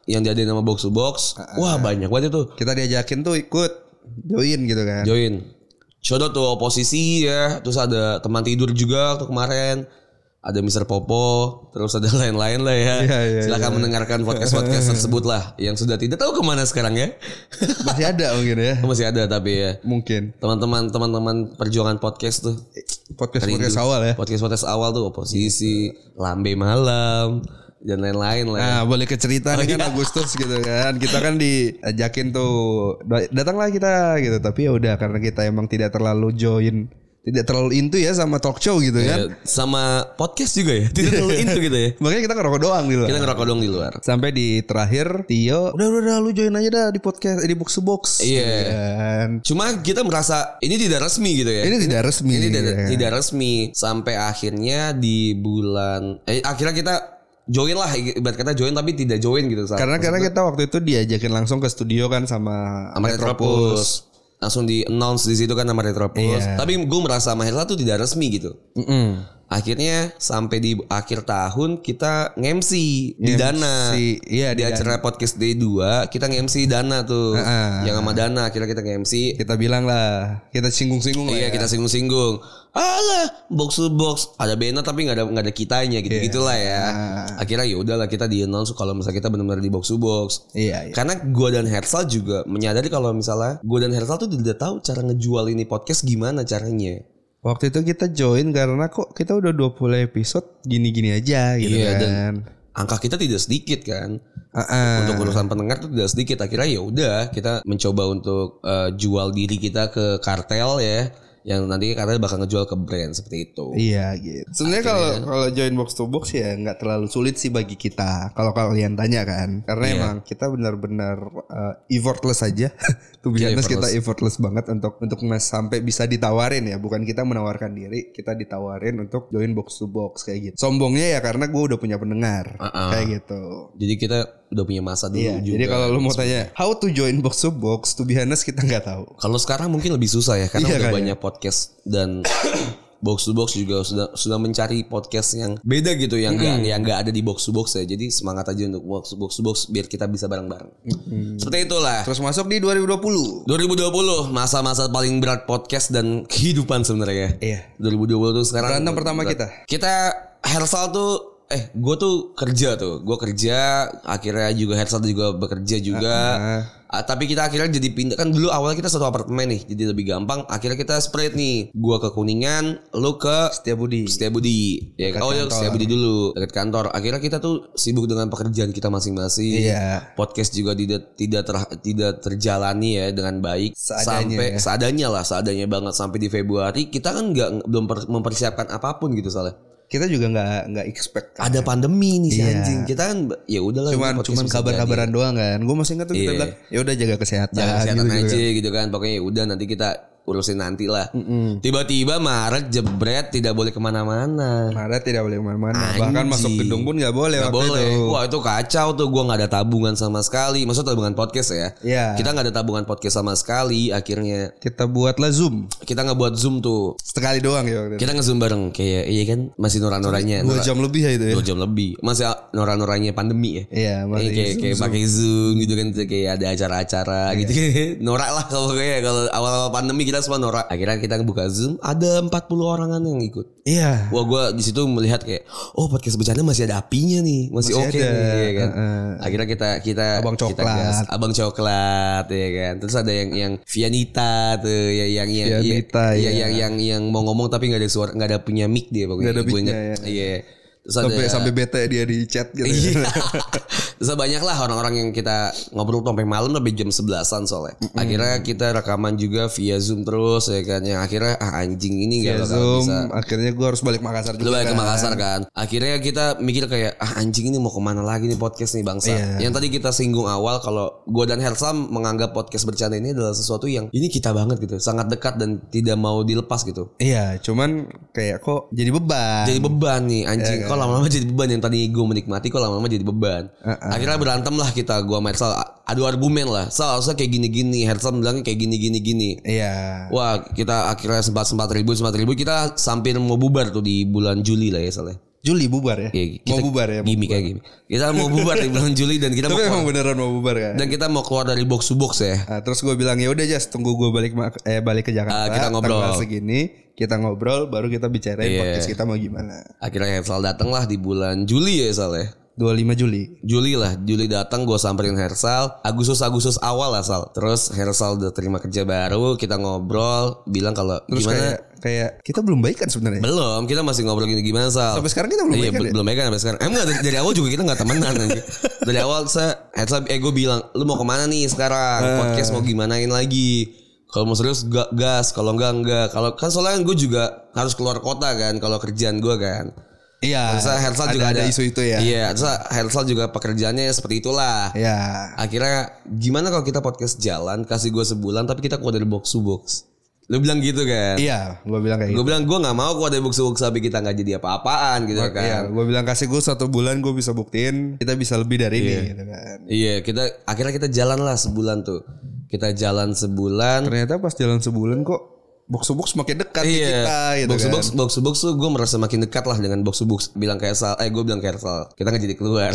yang diadain nama box to box wah banyak banget itu Kita diajakin tuh ikut join gitu kan. join Shodo tuh oposisi ya terus ada teman tidur juga tuh kemarin ada Mr. Popo terus ada lain-lain lah ya Iya, iya, silakan mendengarkan podcast podcast tersebut lah yang sudah tidak tahu kemana sekarang ya masih ada mungkin ya. masih ada tapi ya Mungkin. teman-teman teman-teman perjuangan podcast tuh podcast podcast awal ya. podcast podcast awal tuh oposisi lambe malam dan lain-lain lah ya. Nah, boleh ke cerita nih kan Agustus gitu kan. Kita kan diajakin tuh "Da- datanglah kita gitu. Tapi ya udah karena kita emang tidak terlalu join, tidak terlalu into ya sama talk show gitu kan. Ya, sama podcast juga ya tidak terlalu into gitu ya Makanya kita ngerokok doang gitu. kita ngerokok dong di luar Sampai di terakhir Tio, udah udah, udah lu join aja dah di podcast eh, di box to box. Iya. gitu kan. cuma kita merasa ini tidak resmi gitu ya Ini tidak resmi. ini tidak, ya. tidak resmi sampai akhirnya di bulan eh, akhirnya kita join lah ibarat kata join tapi tidak join gitu Sal. Karena karena kita waktu itu diajakin langsung ke studio kan sama sama Retropus Iya. langsung di announce di situ kan sama Retropus tapi gue merasa sama Herla tuh tidak resmi gitu Mm-mm. Akhirnya sampai di akhir tahun kita nge-MC di Dana. Si- Iya Di di acara podcast day 2 kita nge-MC Dana tuh. Heeh. Yang sama Dana akhirnya kita nge-MC. Kita bilang lah, kita singgung-singgung lah. Iya ya. kita singgung-singgung. Alah box to box ada banner tapi nggak ada nggak ada kitanya gitu gitulah Iya. ya. Akhirnya ya udahlah kita di announce kalau misalnya kita benar-benar di box to box. Iya, iya. Karena gua dan Hersal juga menyadari kalau misalnya gua dan Hersal tuh tidak tahu cara ngejual ini podcast gimana caranya. Waktu itu kita join karena kok kita udah 20 episode gini-gini aja gitu Iya, kan. Angka kita tidak sedikit kan. Heeh. Untuk urusan pendengar tuh tidak sedikit. Akhirnya ya udah kita mencoba untuk eh, jual diri kita ke kartel ya yang nanti kartel bakal ngejual ke brand seperti itu. Iya gitu. Sebenarnya kalau kalau join box to box ya nggak terlalu sulit sih bagi kita. Kalau kalian tanya kan, karena emang kita benar-benar uh, effortless aja. Tuh Iya, honest kita effortless. effortless banget untuk untuk mas sampai bisa ditawarin ya. Bukan kita menawarkan diri, kita ditawarin untuk join box to box kayak gitu. Sombongnya ya karena gue udah punya pendengar Uh-uh. kayak gitu. Jadi kita udah punya masa dulu Iya, juga. jadi kalau lu mau tanya how to join box to box, to be honest kita nggak tahu. Kalau sekarang mungkin lebih susah ya karena Iya, udah kayaknya. banyak podcast dan box to box juga sudah sudah mencari podcast yang beda gitu yang enggak yang nggak ada di box to box ya. Jadi semangat aja untuk box box to box biar kita bisa bareng-bareng. Seperti itulah. Terus masuk di 2020. 2020 masa-masa paling berat podcast dan kehidupan sebenarnya. Iya. 2020 tuh sekarang Berantem pertama kita. kita Hersal tuh eh gue tuh kerja tuh gue kerja akhirnya juga Hersal juga bekerja juga Ah. Ah, tapi kita akhirnya jadi pindah kan dulu awalnya kita satu apartemen nih jadi lebih gampang akhirnya kita spread nih gue ke kuningan lu ke Setia Budi. Setiabudi ya Dekat oh ya kantor. Setiabudi dulu dekat kantor akhirnya kita tuh sibuk dengan pekerjaan kita masing-masing Iya. podcast juga tidak tidak ter- tidak terjalani ya dengan baik Seadanya sampai ya. seadanya lah seadanya banget sampai di Februari kita kan nggak belum per- mempersiapkan apapun gitu soalnya Kita juga nggak nggak expect kan. ada pandemi nih si Iya. anjing kita kan b- ya udahlah cuman podcast cuman bisa kabar-kabaran doang kan. Gue masih ingat tuh kita Iya. bilang, ya udah jaga kesehatan. jadi. Jangan kesehatan gitu-gitu aja kan. gitu kan pokoknya ya udah nanti kita urusin nanti lah tiba-tiba Maret jebret tidak boleh kemana-mana Maret tidak boleh kemana-mana. Bahkan Anjing. masuk gedung pun nggak boleh Nggak waktu boleh. itu. Wah itu kacau tuh. Gue nggak ada tabungan sama sekali. Maksudnya tabungan podcast ya. Iya. Kita nggak ada tabungan podcast sama sekali. Akhirnya Kita buatlah zoom kita ngebuat zoom tuh. sekali doang ya waktu itu. Kita nge-zoom bareng kayak iya kan masih noran-norannya. Dua Nora- jam lebih ya itu ya. dua jam lebih. Masih ah, noran-norannya pandemi ya. Iya, Iya, kayak masih zoom, kayak zoom. Iya. pakai zoom gitu kan kayak ada acara-acara gitu norak lah kalau kayak kalau awal-awal pandemi kita semua norak akhirnya kita buka zoom ada 40 orangan kan yang ikut Iya. Wah gue di situ melihat kayak oh podcast bercanda masih ada apinya nih masih, Masih oke ada, nih ya kan. heeh. Akhirnya kita kita Abang kita Coklat. gas. abang coklat ya kan. Terus ada yang yang Vianita tuh ya yang yang yang- Vianita, ya, ya. yang yang yang mau ngomong tapi nggak ada suara nggak ada punya mic dia pokoknya. Nggak ada Gua mic-nya, ingat. ya. Iya. Terus ada Sampai sampai bete dia di chat gitu. ya. Iya. Terus banyak lah orang-orang yang kita ngobrol sampai malam sampai jam 11-an soalnya. Akhirnya kita rekaman juga via Zoom terus ya kan. Yang akhirnya ah anjing ini Ya, gak bakal zoom, bisa akhirnya gue harus balik Makassar Lu juga. balik ke kan. Makassar kan Akhirnya kita mikir kayak Ah anjing ini mau kemana lagi nih podcast nih bangsa Iya. Yang tadi kita singgung awal Kalau gue dan Hersam menganggap podcast bercanda ini adalah sesuatu yang Ini kita banget gitu Sangat dekat dan tidak mau dilepas gitu Iya, cuman kayak kok jadi beban. jadi beban nih Iya, anjing Kok lama-lama jadi beban Yang tadi gue menikmati Kok lama-lama jadi beban Iya. Akhirnya berantem lah kita Gue sama Hersal a- Adu argumen lah Sal harusnya kayak gini-gini Hersam bilangnya kayak gini-gini gini Iya. Wah kita akhirnya sempat sempat ribut sempat ribut Kita sampai mau bubar tuh di bulan Juli lah ya Saleh Juli bubar ya. Iya, kita mau bubar ya. mau gimmick kayak gimmick. Kita mau bubar di bulan Juli dan kita mau Tapi keluar, emang beneran mau bubar kan? dan kita mau keluar dari box to box ya. Nah, terus gue bilang ya udah jas tunggu gue balik ma- eh balik ke Jakarta. Ah, kita ngobrol. Tanggal segini kita ngobrol baru kita bicarain Iya. podcast kita mau gimana. Akhirnya Hersal datang lah di bulan Juli ya Saleh. 25 Juli. Juli lah, Juli datang gue samperin Hersal Agustus Agustus awal lah Sal. Terus Hersal udah terima kerja baru, kita ngobrol, bilang kalau Terus gimana? kayak kayak kita belum baik kan sebenarnya. Belum, kita masih ngobrol gini gimana Sal. Sampai sekarang kita belum Iya, baik kan. be- belum megang sampai sekarang. Emang dari, dari awal juga kita nggak temenan anjing. Dari awal saya Hersal eh gue bilang, "Lu mau kemana nih sekarang? Eh. Podcast mau gimanain lagi?" Kalau mau serius ga- gas, kalau enggak enggak. Kalau kan soalnya gue juga harus keluar kota kan kalau kerjaan gue kan. Iya. Terus Hersal juga ada, ada isu itu ya. Iya, terus Hersal juga pekerjaannya seperti itulah. Iya. Akhirnya gimana kalau kita podcast jalan kasih gue sebulan tapi kita keluar dari box to box. Lu bilang gitu kan? Iya, gue bilang kayak gitu. Gue bilang gue nggak mau keluar dari box to box tapi kita nggak jadi apa-apaan gitu kan? Iya, gue bilang kasih gue satu bulan gue bisa buktiin kita bisa lebih dari ini gitu kan. Iya, kita akhirnya kita jalan lah sebulan tuh. Kita jalan sebulan. Ternyata pas jalan sebulan kok box to box makin dekat ke Iya. kita gitu box to kan. box, box to box tuh gue merasa makin dekat lah dengan box to box. Bilang kayak sal, eh gue bilang kayak sal, kita nggak jadi keluar.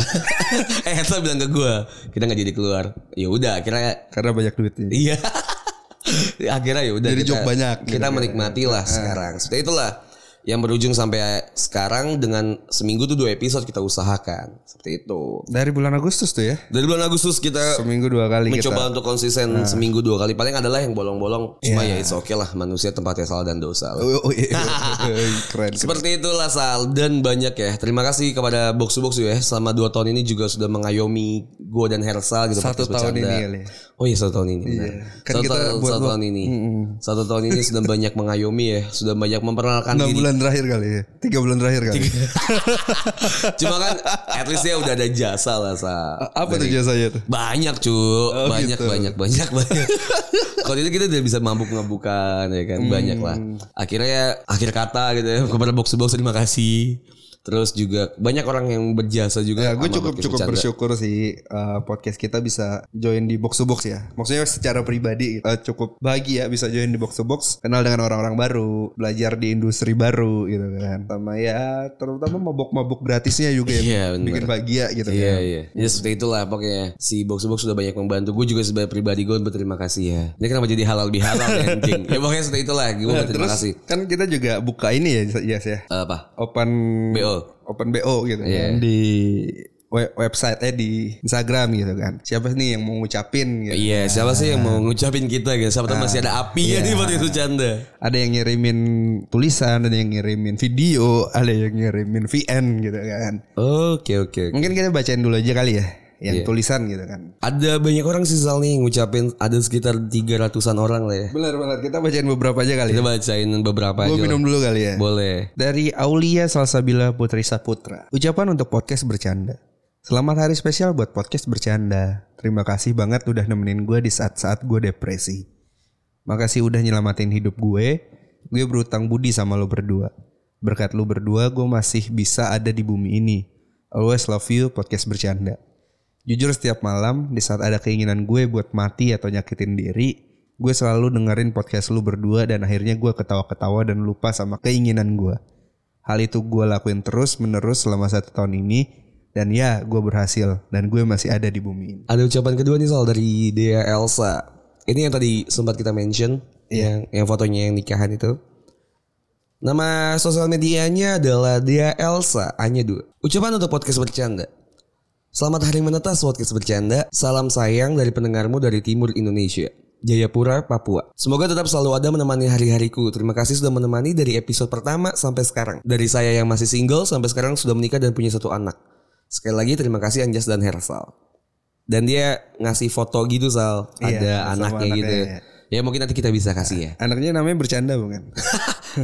eh Hersal bilang ke gue, kita nggak jadi keluar. Ya udah, akhirnya Karena banyak duitnya. iya. akhirnya ya udah. Jadi kita- job banyak gitu Kita kan. menikmati lah sekarang. Seperti itulah yang berujung sampai sekarang dengan seminggu tuh dua episode kita usahakan seperti itu. Dari bulan Agustus tuh ya. Dari bulan Agustus kita Seminggu dua kali Eh, mencoba kita. Nah. untuk konsisten seminggu dua kali paling adalah yang bolong-bolong cuma ya it's okay lah manusia tempatnya salah dan dosa lah. Iya. Oh, iya. oh, iya. keren. Seperti itulah Sal dan banyak ya. Terima kasih kepada Box to Box ya selama dua tahun ini juga sudah mengayomi gue dan Hersal gitu Satu podcast tahun bercanda. ini kali. ya. Oh iya satu tahun ini benar. Kan satu, kita tahun, buat- satu tahun ini. Satu tahun ini sudah banyak mengayomi ya, sudah banyak memperkenalkan Enam diri. bulan terakhir kali ya. Tiga bulan terakhir kali. Cuma kan at least dia udah ada jasa lah Sal. Apa tuh jasanya tuh? Banyak cu, banyak, gitu. banyak banyak banyak Kalau itu kita udah bisa mabuk mabukan ya kan, banyak lah. Hmm. Akhirnya ya, akhir kata gitu ya kepada box to box terima kasih. Terus juga banyak orang yang berjasa juga. Ya, gue sama cukup podcast cukup bercanda. bersyukur sih eh, podcast kita bisa join di box to box ya. Maksudnya secara pribadi eh, cukup bahagia bisa join di box to box, kenal dengan orang-orang baru, belajar di industri baru gitu kan. Sama ya terutama mabok-mabok gratisnya juga Iya, ya, bener. bikin bahagia gitu Iya kan. iya. Ya seperti itulah pokoknya si box to box sudah banyak membantu. Gue juga sebagai pribadi gue berterima kasih ya. Ini kenapa jadi halal bihalal ya anjing. Ya pokoknya seperti itulah gue berterima Terus kasih. Eh, kan kita juga buka ini ya Yes ya. Apa? Open BO. Open BO gitu Iya. kan di we- website eh di Instagram gitu kan. Siapa nih yang mau ngucapin gitu. Iya, siapa sih yang mau ngucapin kita guys? Siapa tahu masih Ah, ada api ya iya. nih buat itu canda. ada yang ngirimin tulisan, ada yang ngirimin video, ada yang ngirimin VN gitu kan. Oke oke. oke. Mungkin kita bacain dulu aja kali ya, yang Iya. tulisan gitu kan. Ada banyak orang sih Sal nih ngucapin ada sekitar 300-an orang lah ya. Benar benar kita bacain beberapa aja kali. Kita Ya. bacain beberapa Gue aja. lah. minum dulu kali ya. Boleh. Dari Aulia Salsabila Putri Saputra. Ucapan untuk podcast bercanda. Selamat hari spesial buat podcast bercanda. Terima kasih banget udah nemenin gue di saat-saat gue depresi. Makasih udah nyelamatin hidup gue. Gue berutang budi sama lo berdua. Berkat lo berdua gue masih bisa ada di bumi ini. Always love you podcast bercanda. Jujur setiap malam di saat ada keinginan gue buat mati atau nyakitin diri, gue selalu dengerin podcast lu berdua dan akhirnya gue ketawa-ketawa dan lupa sama keinginan gue. Hal itu gue lakuin terus menerus selama satu tahun ini dan ya gue berhasil dan gue masih ada di bumi ini. Ada ucapan kedua nih Sal dari Dea Elsa. Ini yang tadi sempat kita mention yang yang fotonya yang nikahan itu. Nama sosial medianya adalah Dea Elsa Hanya dua. Ucapan untuk podcast bercanda. Selamat hari menetas podcast bercanda. Salam sayang dari pendengarmu dari timur Indonesia. Jayapura, Papua. Semoga tetap selalu ada menemani hari-hariku. Terima kasih sudah menemani dari episode pertama sampai sekarang. Dari saya yang masih single sampai sekarang sudah menikah dan punya satu anak. Sekali lagi terima kasih Anjas dan Hersal. Dan dia ngasih foto gitu Sal, Iya, ada sama anaknya, anaknya, gitu. iya. Ya mungkin nanti kita bisa kasih ya. Anaknya namanya bercanda bukan?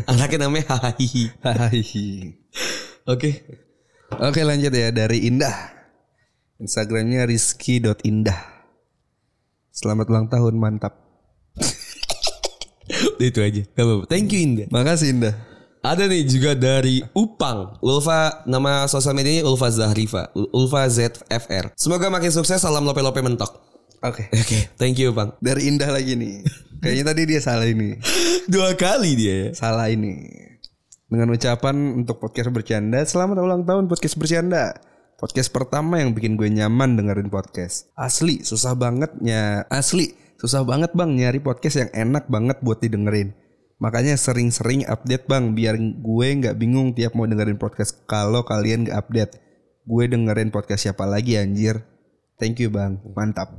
anaknya namanya Hahihi. Hahihi. Oke. Oke lanjut ya dari Indah. Instagramnya rizky.indah. Selamat ulang tahun mantap. Udah Itu aja. Gak apa-apa. Thank you Indah. Makasih Indah. Ada nih juga dari Upang. Ulfa nama sosial medianya Ulfa Zahrifa. U- Ulfa ZFR. Semoga makin sukses. Salam lope-lope mentok. Oke. Oke, thank you Upang. Dari Indah lagi nih. Kayaknya tadi dia salah ini. Dua kali dia ya. Salah ini. Dengan ucapan untuk podcast bercanda, selamat ulang tahun podcast bercanda. Podcast pertama yang bikin gue nyaman dengerin podcast. Asli, susah bangetnya. Asli, susah banget bang nyari podcast yang enak banget buat didengerin. Makanya sering-sering update bang, biar gue nggak bingung tiap mau dengerin podcast kalau kalian nggak update. Gue dengerin podcast siapa lagi anjir. Thank you bang, mantap.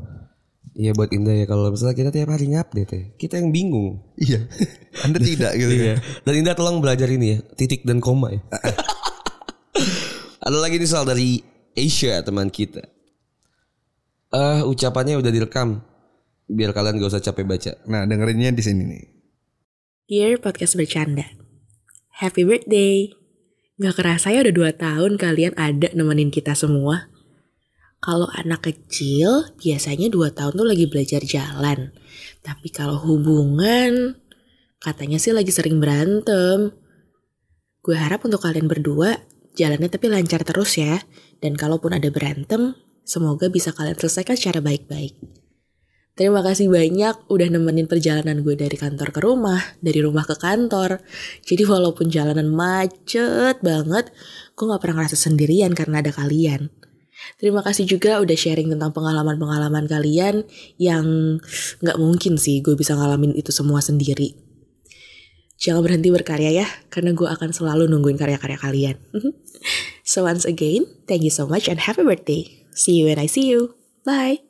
Iya buat Indah ya kalau misalnya kita tiap hari ngupdate ya. Kita yang bingung. Iya. Iya, anda tidak gitu. ya. Dan Indah tolong belajar ini ya, titik dan koma ya. Ada lagi nih soal dari Asia teman kita. Eh ucapannya udah direkam. Biar kalian gak usah capek baca. Nah dengerinnya di sini nih. Dear Podcast Bercanda Happy birthday Gak kerasa ya udah 2 tahun kalian ada nemenin kita semua Kalau anak kecil biasanya 2 tahun tuh lagi belajar jalan Tapi kalau hubungan katanya sih lagi sering berantem Gue harap untuk kalian berdua jalannya tapi lancar terus ya Dan kalaupun ada berantem semoga bisa kalian selesaikan secara baik-baik Terima kasih banyak udah nemenin perjalanan gue dari kantor ke rumah, dari rumah ke kantor. Jadi walaupun jalanan macet banget, gue gak pernah ngerasa sendirian karena ada kalian. Terima kasih juga udah sharing tentang pengalaman-pengalaman kalian yang gak mungkin sih gue bisa ngalamin itu semua sendiri. Jangan berhenti berkarya ya, karena gue akan selalu nungguin karya-karya kalian. so once again, thank you so much and happy birthday. See you when I see you. Bye.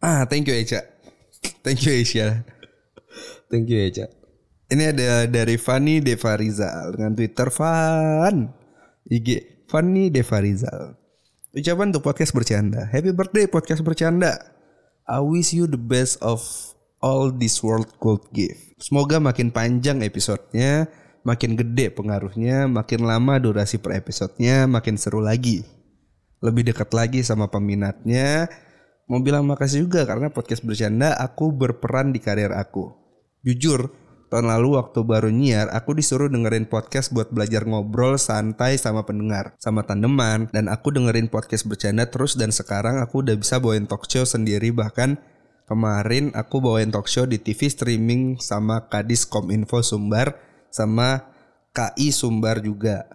Ah, thank you Echa. Thank you Echa. Thank you ya, Cak. Ini ada dari Fanny Devarizal dengan Twitter Fan IG Fanny Devarizal. Ucapan untuk podcast bercanda. Happy birthday podcast bercanda. I wish you the best of all this world could give. Semoga makin panjang episodenya, makin gede pengaruhnya, makin lama durasi per episodenya, makin seru lagi. Lebih dekat lagi sama peminatnya. Mau bilang makasih juga karena podcast bercanda aku berperan di karir aku. Jujur, tahun lalu waktu baru nyiar, aku disuruh dengerin podcast buat belajar ngobrol santai sama pendengar, sama tandeman, dan aku dengerin podcast bercanda terus dan sekarang aku udah bisa bawain talk show sendiri bahkan kemarin aku bawain talk show di TV streaming sama Kadis Kominfo Sumbar sama KI Sumbar juga.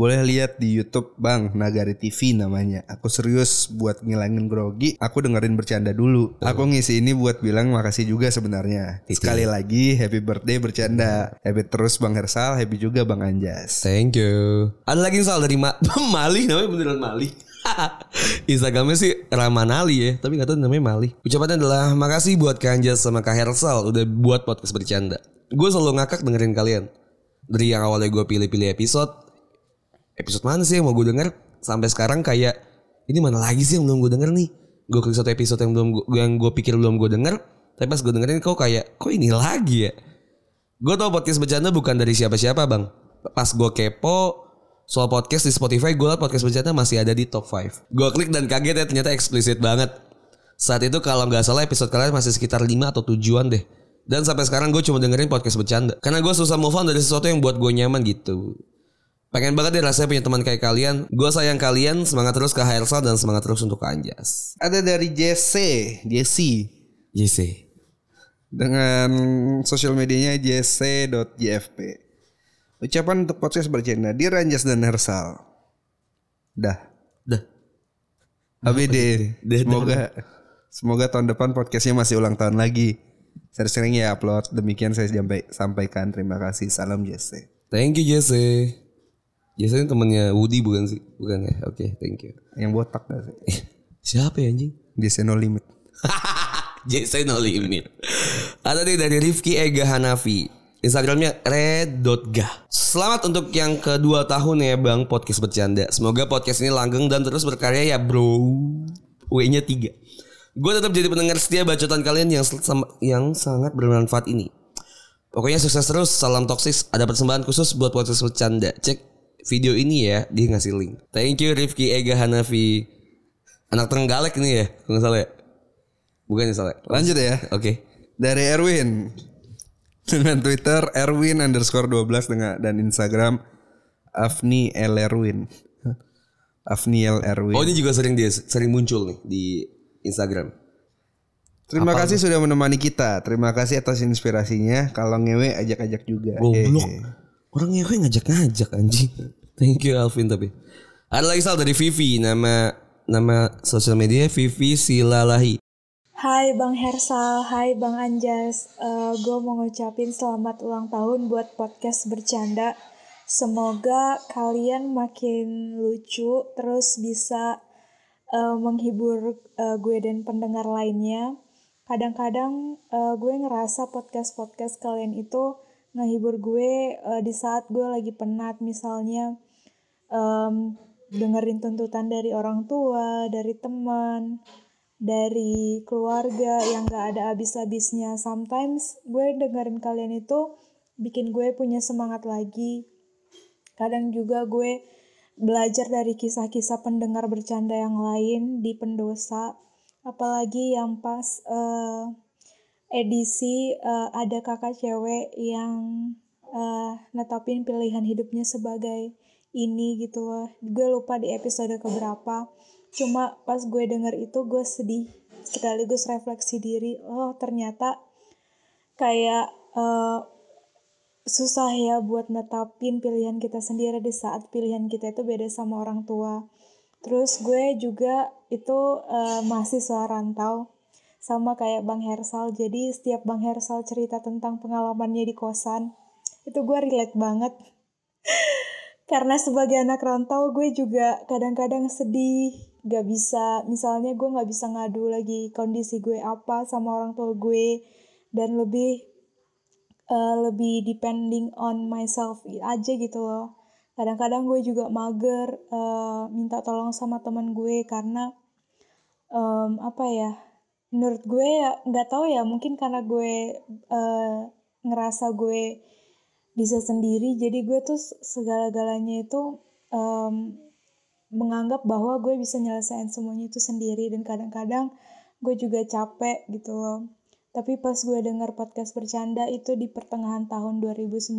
Boleh lihat di YouTube Bang Nagari TV namanya. Aku serius buat ngilangin grogi. Aku dengerin bercanda dulu. Aku ngisi ini buat bilang makasih juga sebenarnya. Sekali lagi happy birthday bercanda. Happy terus Bang Hersal, happy juga Bang Anjas. Thank you. Ada lagi soal dari Ma Mali, namanya beneran Mali. Instagramnya sih Ramanali ya, tapi nggak tahu namanya Mali. Ucapannya adalah makasih buat Kak Anjas sama Kak Hersal udah buat podcast bercanda. Gue selalu ngakak dengerin kalian. Dari yang awalnya gue pilih-pilih episode, episode mana sih yang mau gue denger? Sampai sekarang kayak ini mana lagi sih yang belum gue denger nih? Gue klik satu episode yang belum gua, yang gue pikir belum gue denger, tapi pas gue dengerin kok kayak kok ini lagi ya? Gue tau podcast bercanda bukan dari siapa-siapa bang. Pas gue kepo soal podcast di Spotify, gue liat podcast bercanda masih ada di top 5. Gue klik dan kaget ya ternyata eksplisit banget. Saat itu kalau nggak salah episode kalian masih sekitar 5 atau 7-an deh. Dan sampai sekarang gue cuma dengerin podcast bercanda. Karena gue susah move on dari sesuatu yang buat gue nyaman gitu. Pengen banget deh rasanya punya teman kayak kalian. Gue sayang kalian, semangat terus ke HRSA dan semangat terus untuk ke Anjas. Iya Ada dari Jesse, Jesse. JC. dengan sosial medianya jc.jfp. Ucapan untuk podcast bercanda di Ranjas dan Hersal. Dah. Dah. ABD. Dah, dah. Semoga semoga tahun depan podcastnya masih ulang tahun lagi. Sering-sering ya upload. Demikian saya sampai sampaikan. Terima kasih. Salam JC. Thank you JC. JC ini temannya Woody bukan sih? Bukan ya? Oke, thank you. Yang botak gak sih? Siapa ya anjing? JC no limit. JC no limit. Ada nih dari Rifki Ega Hanafi. Instagramnya red.gah Selamat untuk yang kedua tahun ya bang podcast bercanda Semoga podcast ini langgeng dan terus berkarya ya bro W-nya tiga Gue tetap jadi pendengar setia bacotan kalian yang sel- sam- yang sangat bermanfaat ini Pokoknya sukses terus, salam toksis Ada persembahan khusus buat podcast bercanda Cek video ini ya, dia ngasih link Thank you Rifki Ega Hanafi Anak Trenggalek nih ya, kalau nggak salah ya Bukan ya salah ya? Lanjut ya. Oke. Dari Erwin. Dengan Twitter Erwin underscore 12 dengan, dan Instagram Afni L. Erwin. Afni L. Erwin. Oh ini juga sering dia sering muncul nih di Instagram. Terima kasih sudah menemani kita. Terima kasih atas inspirasinya. Kalau ngewe ajak-ajak juga. Eh, Hehe. Orang ngewe ngajak-ngajak anjing. Thank you Alvin tapi. Ada lagi sal dari Vivi nama nama sosial media Vivi Silalahi. Hai Bang Hersal, hai Bang Anjas. gue mau ngucapin selamat ulang tahun buat podcast bercanda. Semoga kalian makin lucu, terus bisa eh, menghibur eh, gue dan pendengar lainnya. Kadang-kadang eh, gue ngerasa podcast-podcast kalian itu ngehibur gue eh, di saat gue lagi penat, misalnya em, dengerin tuntutan dari orang tua, dari teman, dari keluarga yang gak ada habis-habisnya. Sometimes gue dengerin kalian itu bikin gue punya semangat lagi. Kadang juga gue belajar dari kisah-kisah pendengar bercanda yang lain di pendosa. Apalagi yang pas eh, edisi eh, ada kakak cewek yang eh, netapin pilihan hidupnya sebagai ini gitu loh. Gue lupa di episode keberapa. Cuma pas gue denger itu gue sedih sekaligus refleksi diri oh ternyata kayak eh, susah ya buat netapin pilihan kita sendiri di saat pilihan kita itu beda sama orang tua terus gue juga itu eh, mahasiswa rantau sama kayak Bang Hersal jadi setiap Bang Hersal cerita tentang pengalamannya di kosan itu gue relate banget karena sebagai anak rantau gue juga kadang-kadang sedih gak bisa misalnya gue gak bisa ngadu lagi kondisi gue apa sama orang tua gue dan lebih eh, lebih depending on myself aja gitu loh kadang-kadang gue juga mager eh, minta tolong sama teman gue karena em, apa ya menurut gue ya nggak tahu ya mungkin karena gue eh, ngerasa gue bisa sendiri jadi gue tuh segala-galanya itu em, menganggap bahwa gue bisa nyelesain semuanya itu sendiri dan kadang-kadang gue juga capek gitu loh tapi pas gue denger podcast bercanda itu di pertengahan tahun 2019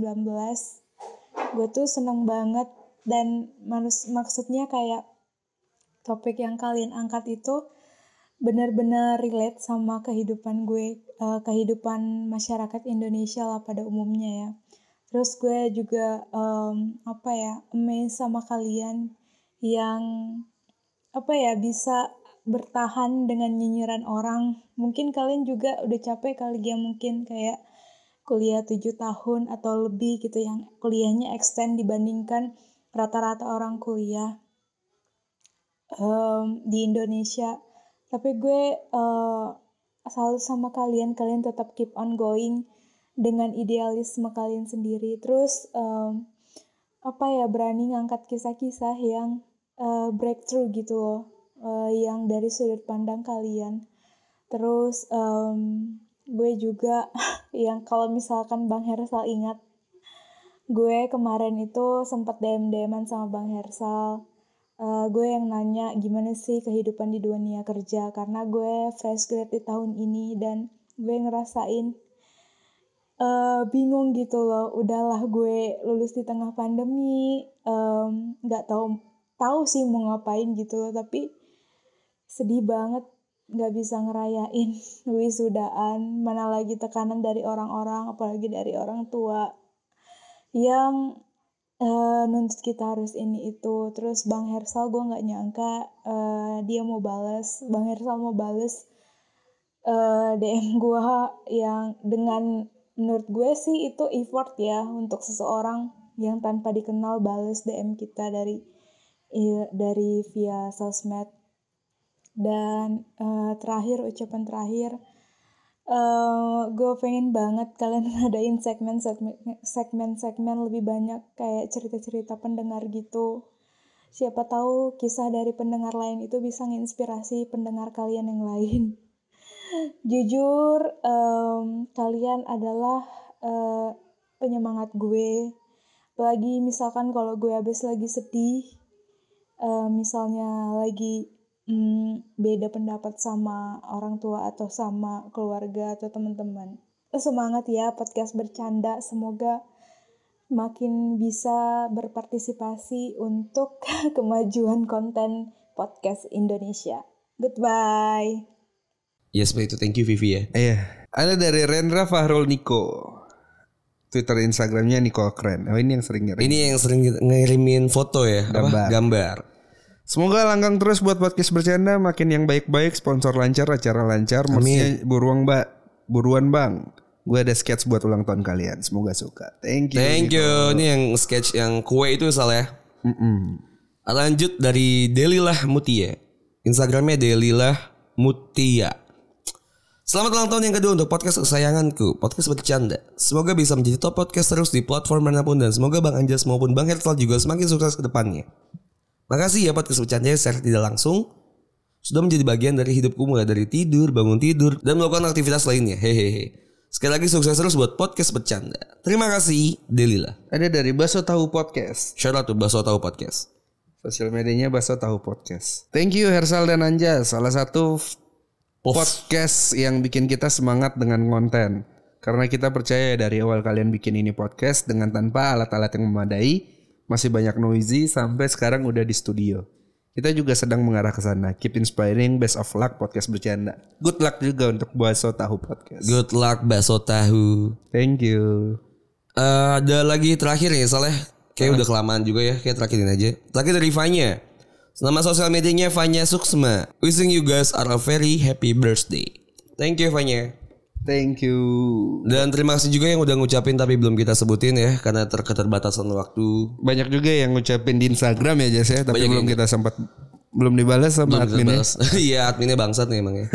gue tuh seneng banget dan manus- maksudnya kayak topik yang kalian angkat itu benar-benar relate sama kehidupan gue eh, kehidupan masyarakat Indonesia lah pada umumnya ya terus gue juga em, apa ya amazed sama kalian yang apa ya bisa bertahan dengan nyinyiran orang mungkin kalian juga udah capek kali ya mungkin kayak kuliah 7 tahun atau lebih gitu yang kuliahnya extend dibandingkan rata-rata orang kuliah em, di Indonesia tapi gue eh, selalu sama kalian kalian tetap keep on going dengan idealisme kalian sendiri terus em, apa ya berani ngangkat kisah-kisah yang eh, breakthrough gitu loh eh, yang dari sudut pandang kalian terus em, gue juga yang kalau misalkan bang Hersal ingat gue kemarin itu sempat dm dman sama bang Hersal Eh, gue yang nanya gimana sih kehidupan di dunia kerja karena gue fresh grad di tahun ini dan gue ngerasain eh, bingung gitu loh udahlah gue lulus di tengah pandemi em, nggak tahu tahu sih mau ngapain gitu loh tapi sedih banget nggak bisa ngerayain wisudaan mana lagi tekanan dari orang-orang apalagi dari orang tua yang eh, nuntut kita harus ini itu terus bang Hersal gue nggak nyangka eh, dia mau bales bang Hersal mau bales eh, DM gue yang dengan menurut gue sih itu effort ya untuk seseorang yang tanpa dikenal bales DM kita dari i- dari via sosmed dan eh, terakhir ucapan terakhir eh, gue pengen banget kalian ngadain segmen segmen segmen lebih banyak kayak cerita-cerita pendengar gitu siapa tahu kisah dari pendengar lain itu bisa nginspirasi pendengar kalian yang lain jujur em, kalian adalah eh, penyemangat gue apalagi misalkan kalau gue habis lagi sedih eh, misalnya lagi mm, beda pendapat sama orang tua atau sama keluarga atau teman-teman semangat ya podcast bercanda semoga makin bisa berpartisipasi untuk kemajuan konten podcast Indonesia goodbye Yes, but Iya, itu thank you Vivi ya. Iya. Ada dari Rendra Fahrul Niko. Twitter Instagramnya Niko Keren. Oh ini yang sering ngirim. Ini yang sering ngirimin foto ya, Apa? Gambar. gambar. Semoga langgang terus buat podcast bercanda makin yang baik-baik, sponsor lancar, acara lancar, Mesin buruan mbak, buruan bang. Gue ada sketch buat ulang tahun kalian, semoga suka. Thank you. Thank you. Ini yang sketch yang kue itu salah ya. Mm-mm. Lanjut dari Delilah Mutia. Instagramnya Delilah Mutia. Selamat ulang tahun yang kedua untuk podcast kesayanganku, podcast bercanda. Semoga bisa menjadi top podcast terus di platform manapun dan semoga Bang Anjas maupun Bang Hersal juga semakin sukses ke depannya. Makasih ya podcast bercanda secara tidak langsung sudah menjadi bagian dari hidupku mulai dari tidur, bangun tidur, dan melakukan aktivitas lainnya. Hehehe. Sekali lagi sukses terus buat podcast bercanda. Terima kasih, Delilah. Ada dari Baso Tahu Podcast. Shout out to Baso Tahu Podcast. Sosial medianya Baso Tahu Podcast. Thank you Hersal dan Anja, salah satu f- Pos. podcast yang bikin kita semangat dengan konten. Karena kita percaya ya dari awal kalian bikin ini podcast dengan tanpa alat-alat yang memadai, masih banyak noisy sampai sekarang udah di studio. Kita juga sedang mengarah ke sana. Keep inspiring, best of luck podcast bercanda. Good luck juga untuk Baso Tahu Podcast. Good luck bakso tahu. Thank you. Eh, ada lagi terakhir ya Saleh. Kayak udah kelamaan juga ya. Kayak terakhirin aja. Terakhir dari Vanya. Nama sosial medianya Vanya Suksma. Wishing you guys are a very happy birthday. Thank you Vanya. Thank you. Dan terima kasih juga yang udah ngucapin tapi belum kita sebutin ya karena ter- keterbatasan waktu. Banyak juga yang ngucapin di Instagram ya Jas ya, tapi belum kita sempat belum dibalas sama adminnya. Iya adminnya bangsat nih emang ya.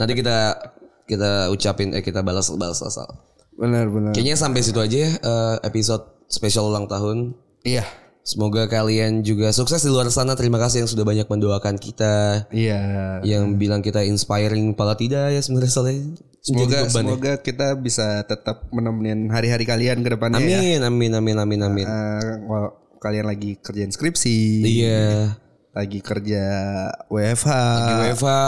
Nanti kita kita ucapin eh kita balas balas asal. Benar benar. Kayaknya sampai situ aja ya eh, episode spesial ulang tahun. Iya. Semoga kalian juga sukses di luar sana. Terima kasih yang sudah banyak mendoakan kita, Iya. yang bilang kita inspiring, pala tidak ya sebenarnya soalnya. Semoga Jadi beban ya. semoga kita bisa tetap menemani hari-hari kalian ke depannya ya. Amin, amin, amin, amin, amin. Eh, kalau kalian lagi kerjain skripsi, Iya. lagi kerja WFH, UEFA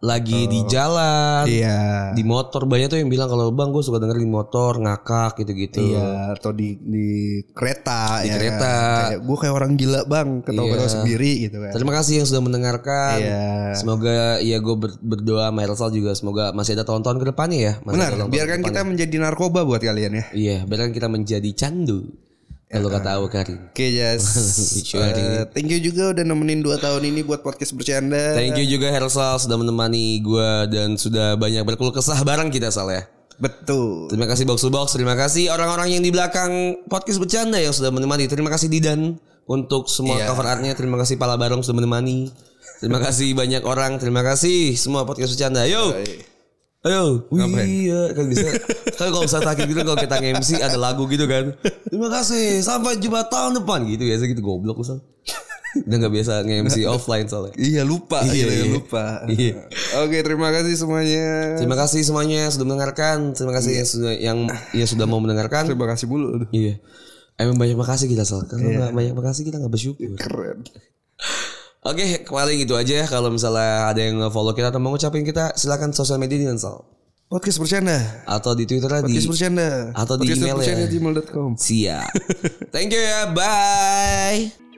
lagi di jalan, iya, di motor banyak tuh yang bilang kalau bang gue suka denger di motor ngakak gitu-gitu. iya, atau di di kereta, Di ya kereta. gue kayak orang gila bang, ketawa-ketawa Iya. sendiri gitu kan. Terima kasih yang sudah mendengarkan. Iya. Semoga ya gue ber- berdoa Mersal juga semoga masih ada tahun-tahun ke depannya ya. Masih Benar, ada tahun-tahun biarkan ke kita depannya. menjadi narkoba buat kalian ya. Iya, biarkan kita menjadi candu. Kalau kata Awu Karim. Oke, Jas. Kecuali. Eh, thank you juga udah nemenin 2 tahun ini buat podcast bercanda. Thank you juga Hersal sudah menemani gue dan sudah banyak berkeluh kesah bareng kita Saleh. Betul. Terima kasih Box to Box, terima kasih orang-orang yang di belakang podcast bercanda yang sudah menemani. Terima kasih Didan untuk semua cover artnya, terima kasih Pala Barong sudah menemani. Terima kasih banyak orang, terima kasih semua podcast bercanda. Yo. Ayo, iya kan bisa. kan kalau bisa takik gitu kalau kita MC ada lagu gitu kan. Terima kasih, sampai jumpa tahun depan gitu biasa gitu goblok misal. Udah nggak biasa nge-MC offline soalnya. Iya lupa, Iya, gitu ya, iya. lupa. Iya. Oke, terima kasih semuanya. Terima kasih semuanya yang sudah mendengarkan. Terima kasih yang sudah yang ya sudah mau mendengarkan. Iya. Terima kasih Iya. bulu. Iya. Emang banyak makasih kita Sal. Karena nggak banyak makasih kita nggak bersyukur. Keren. Oke, paling itu aja. Kalau misalnya ada yang follow kita atau mau ngucapin kita, silakan sosial media di Sal. Podcast bercanda. Atau di Twitter di Podcast bercanda. atau di email ya. Podcast bercanda@gmail.com. Siap. Thank you ya. Bye.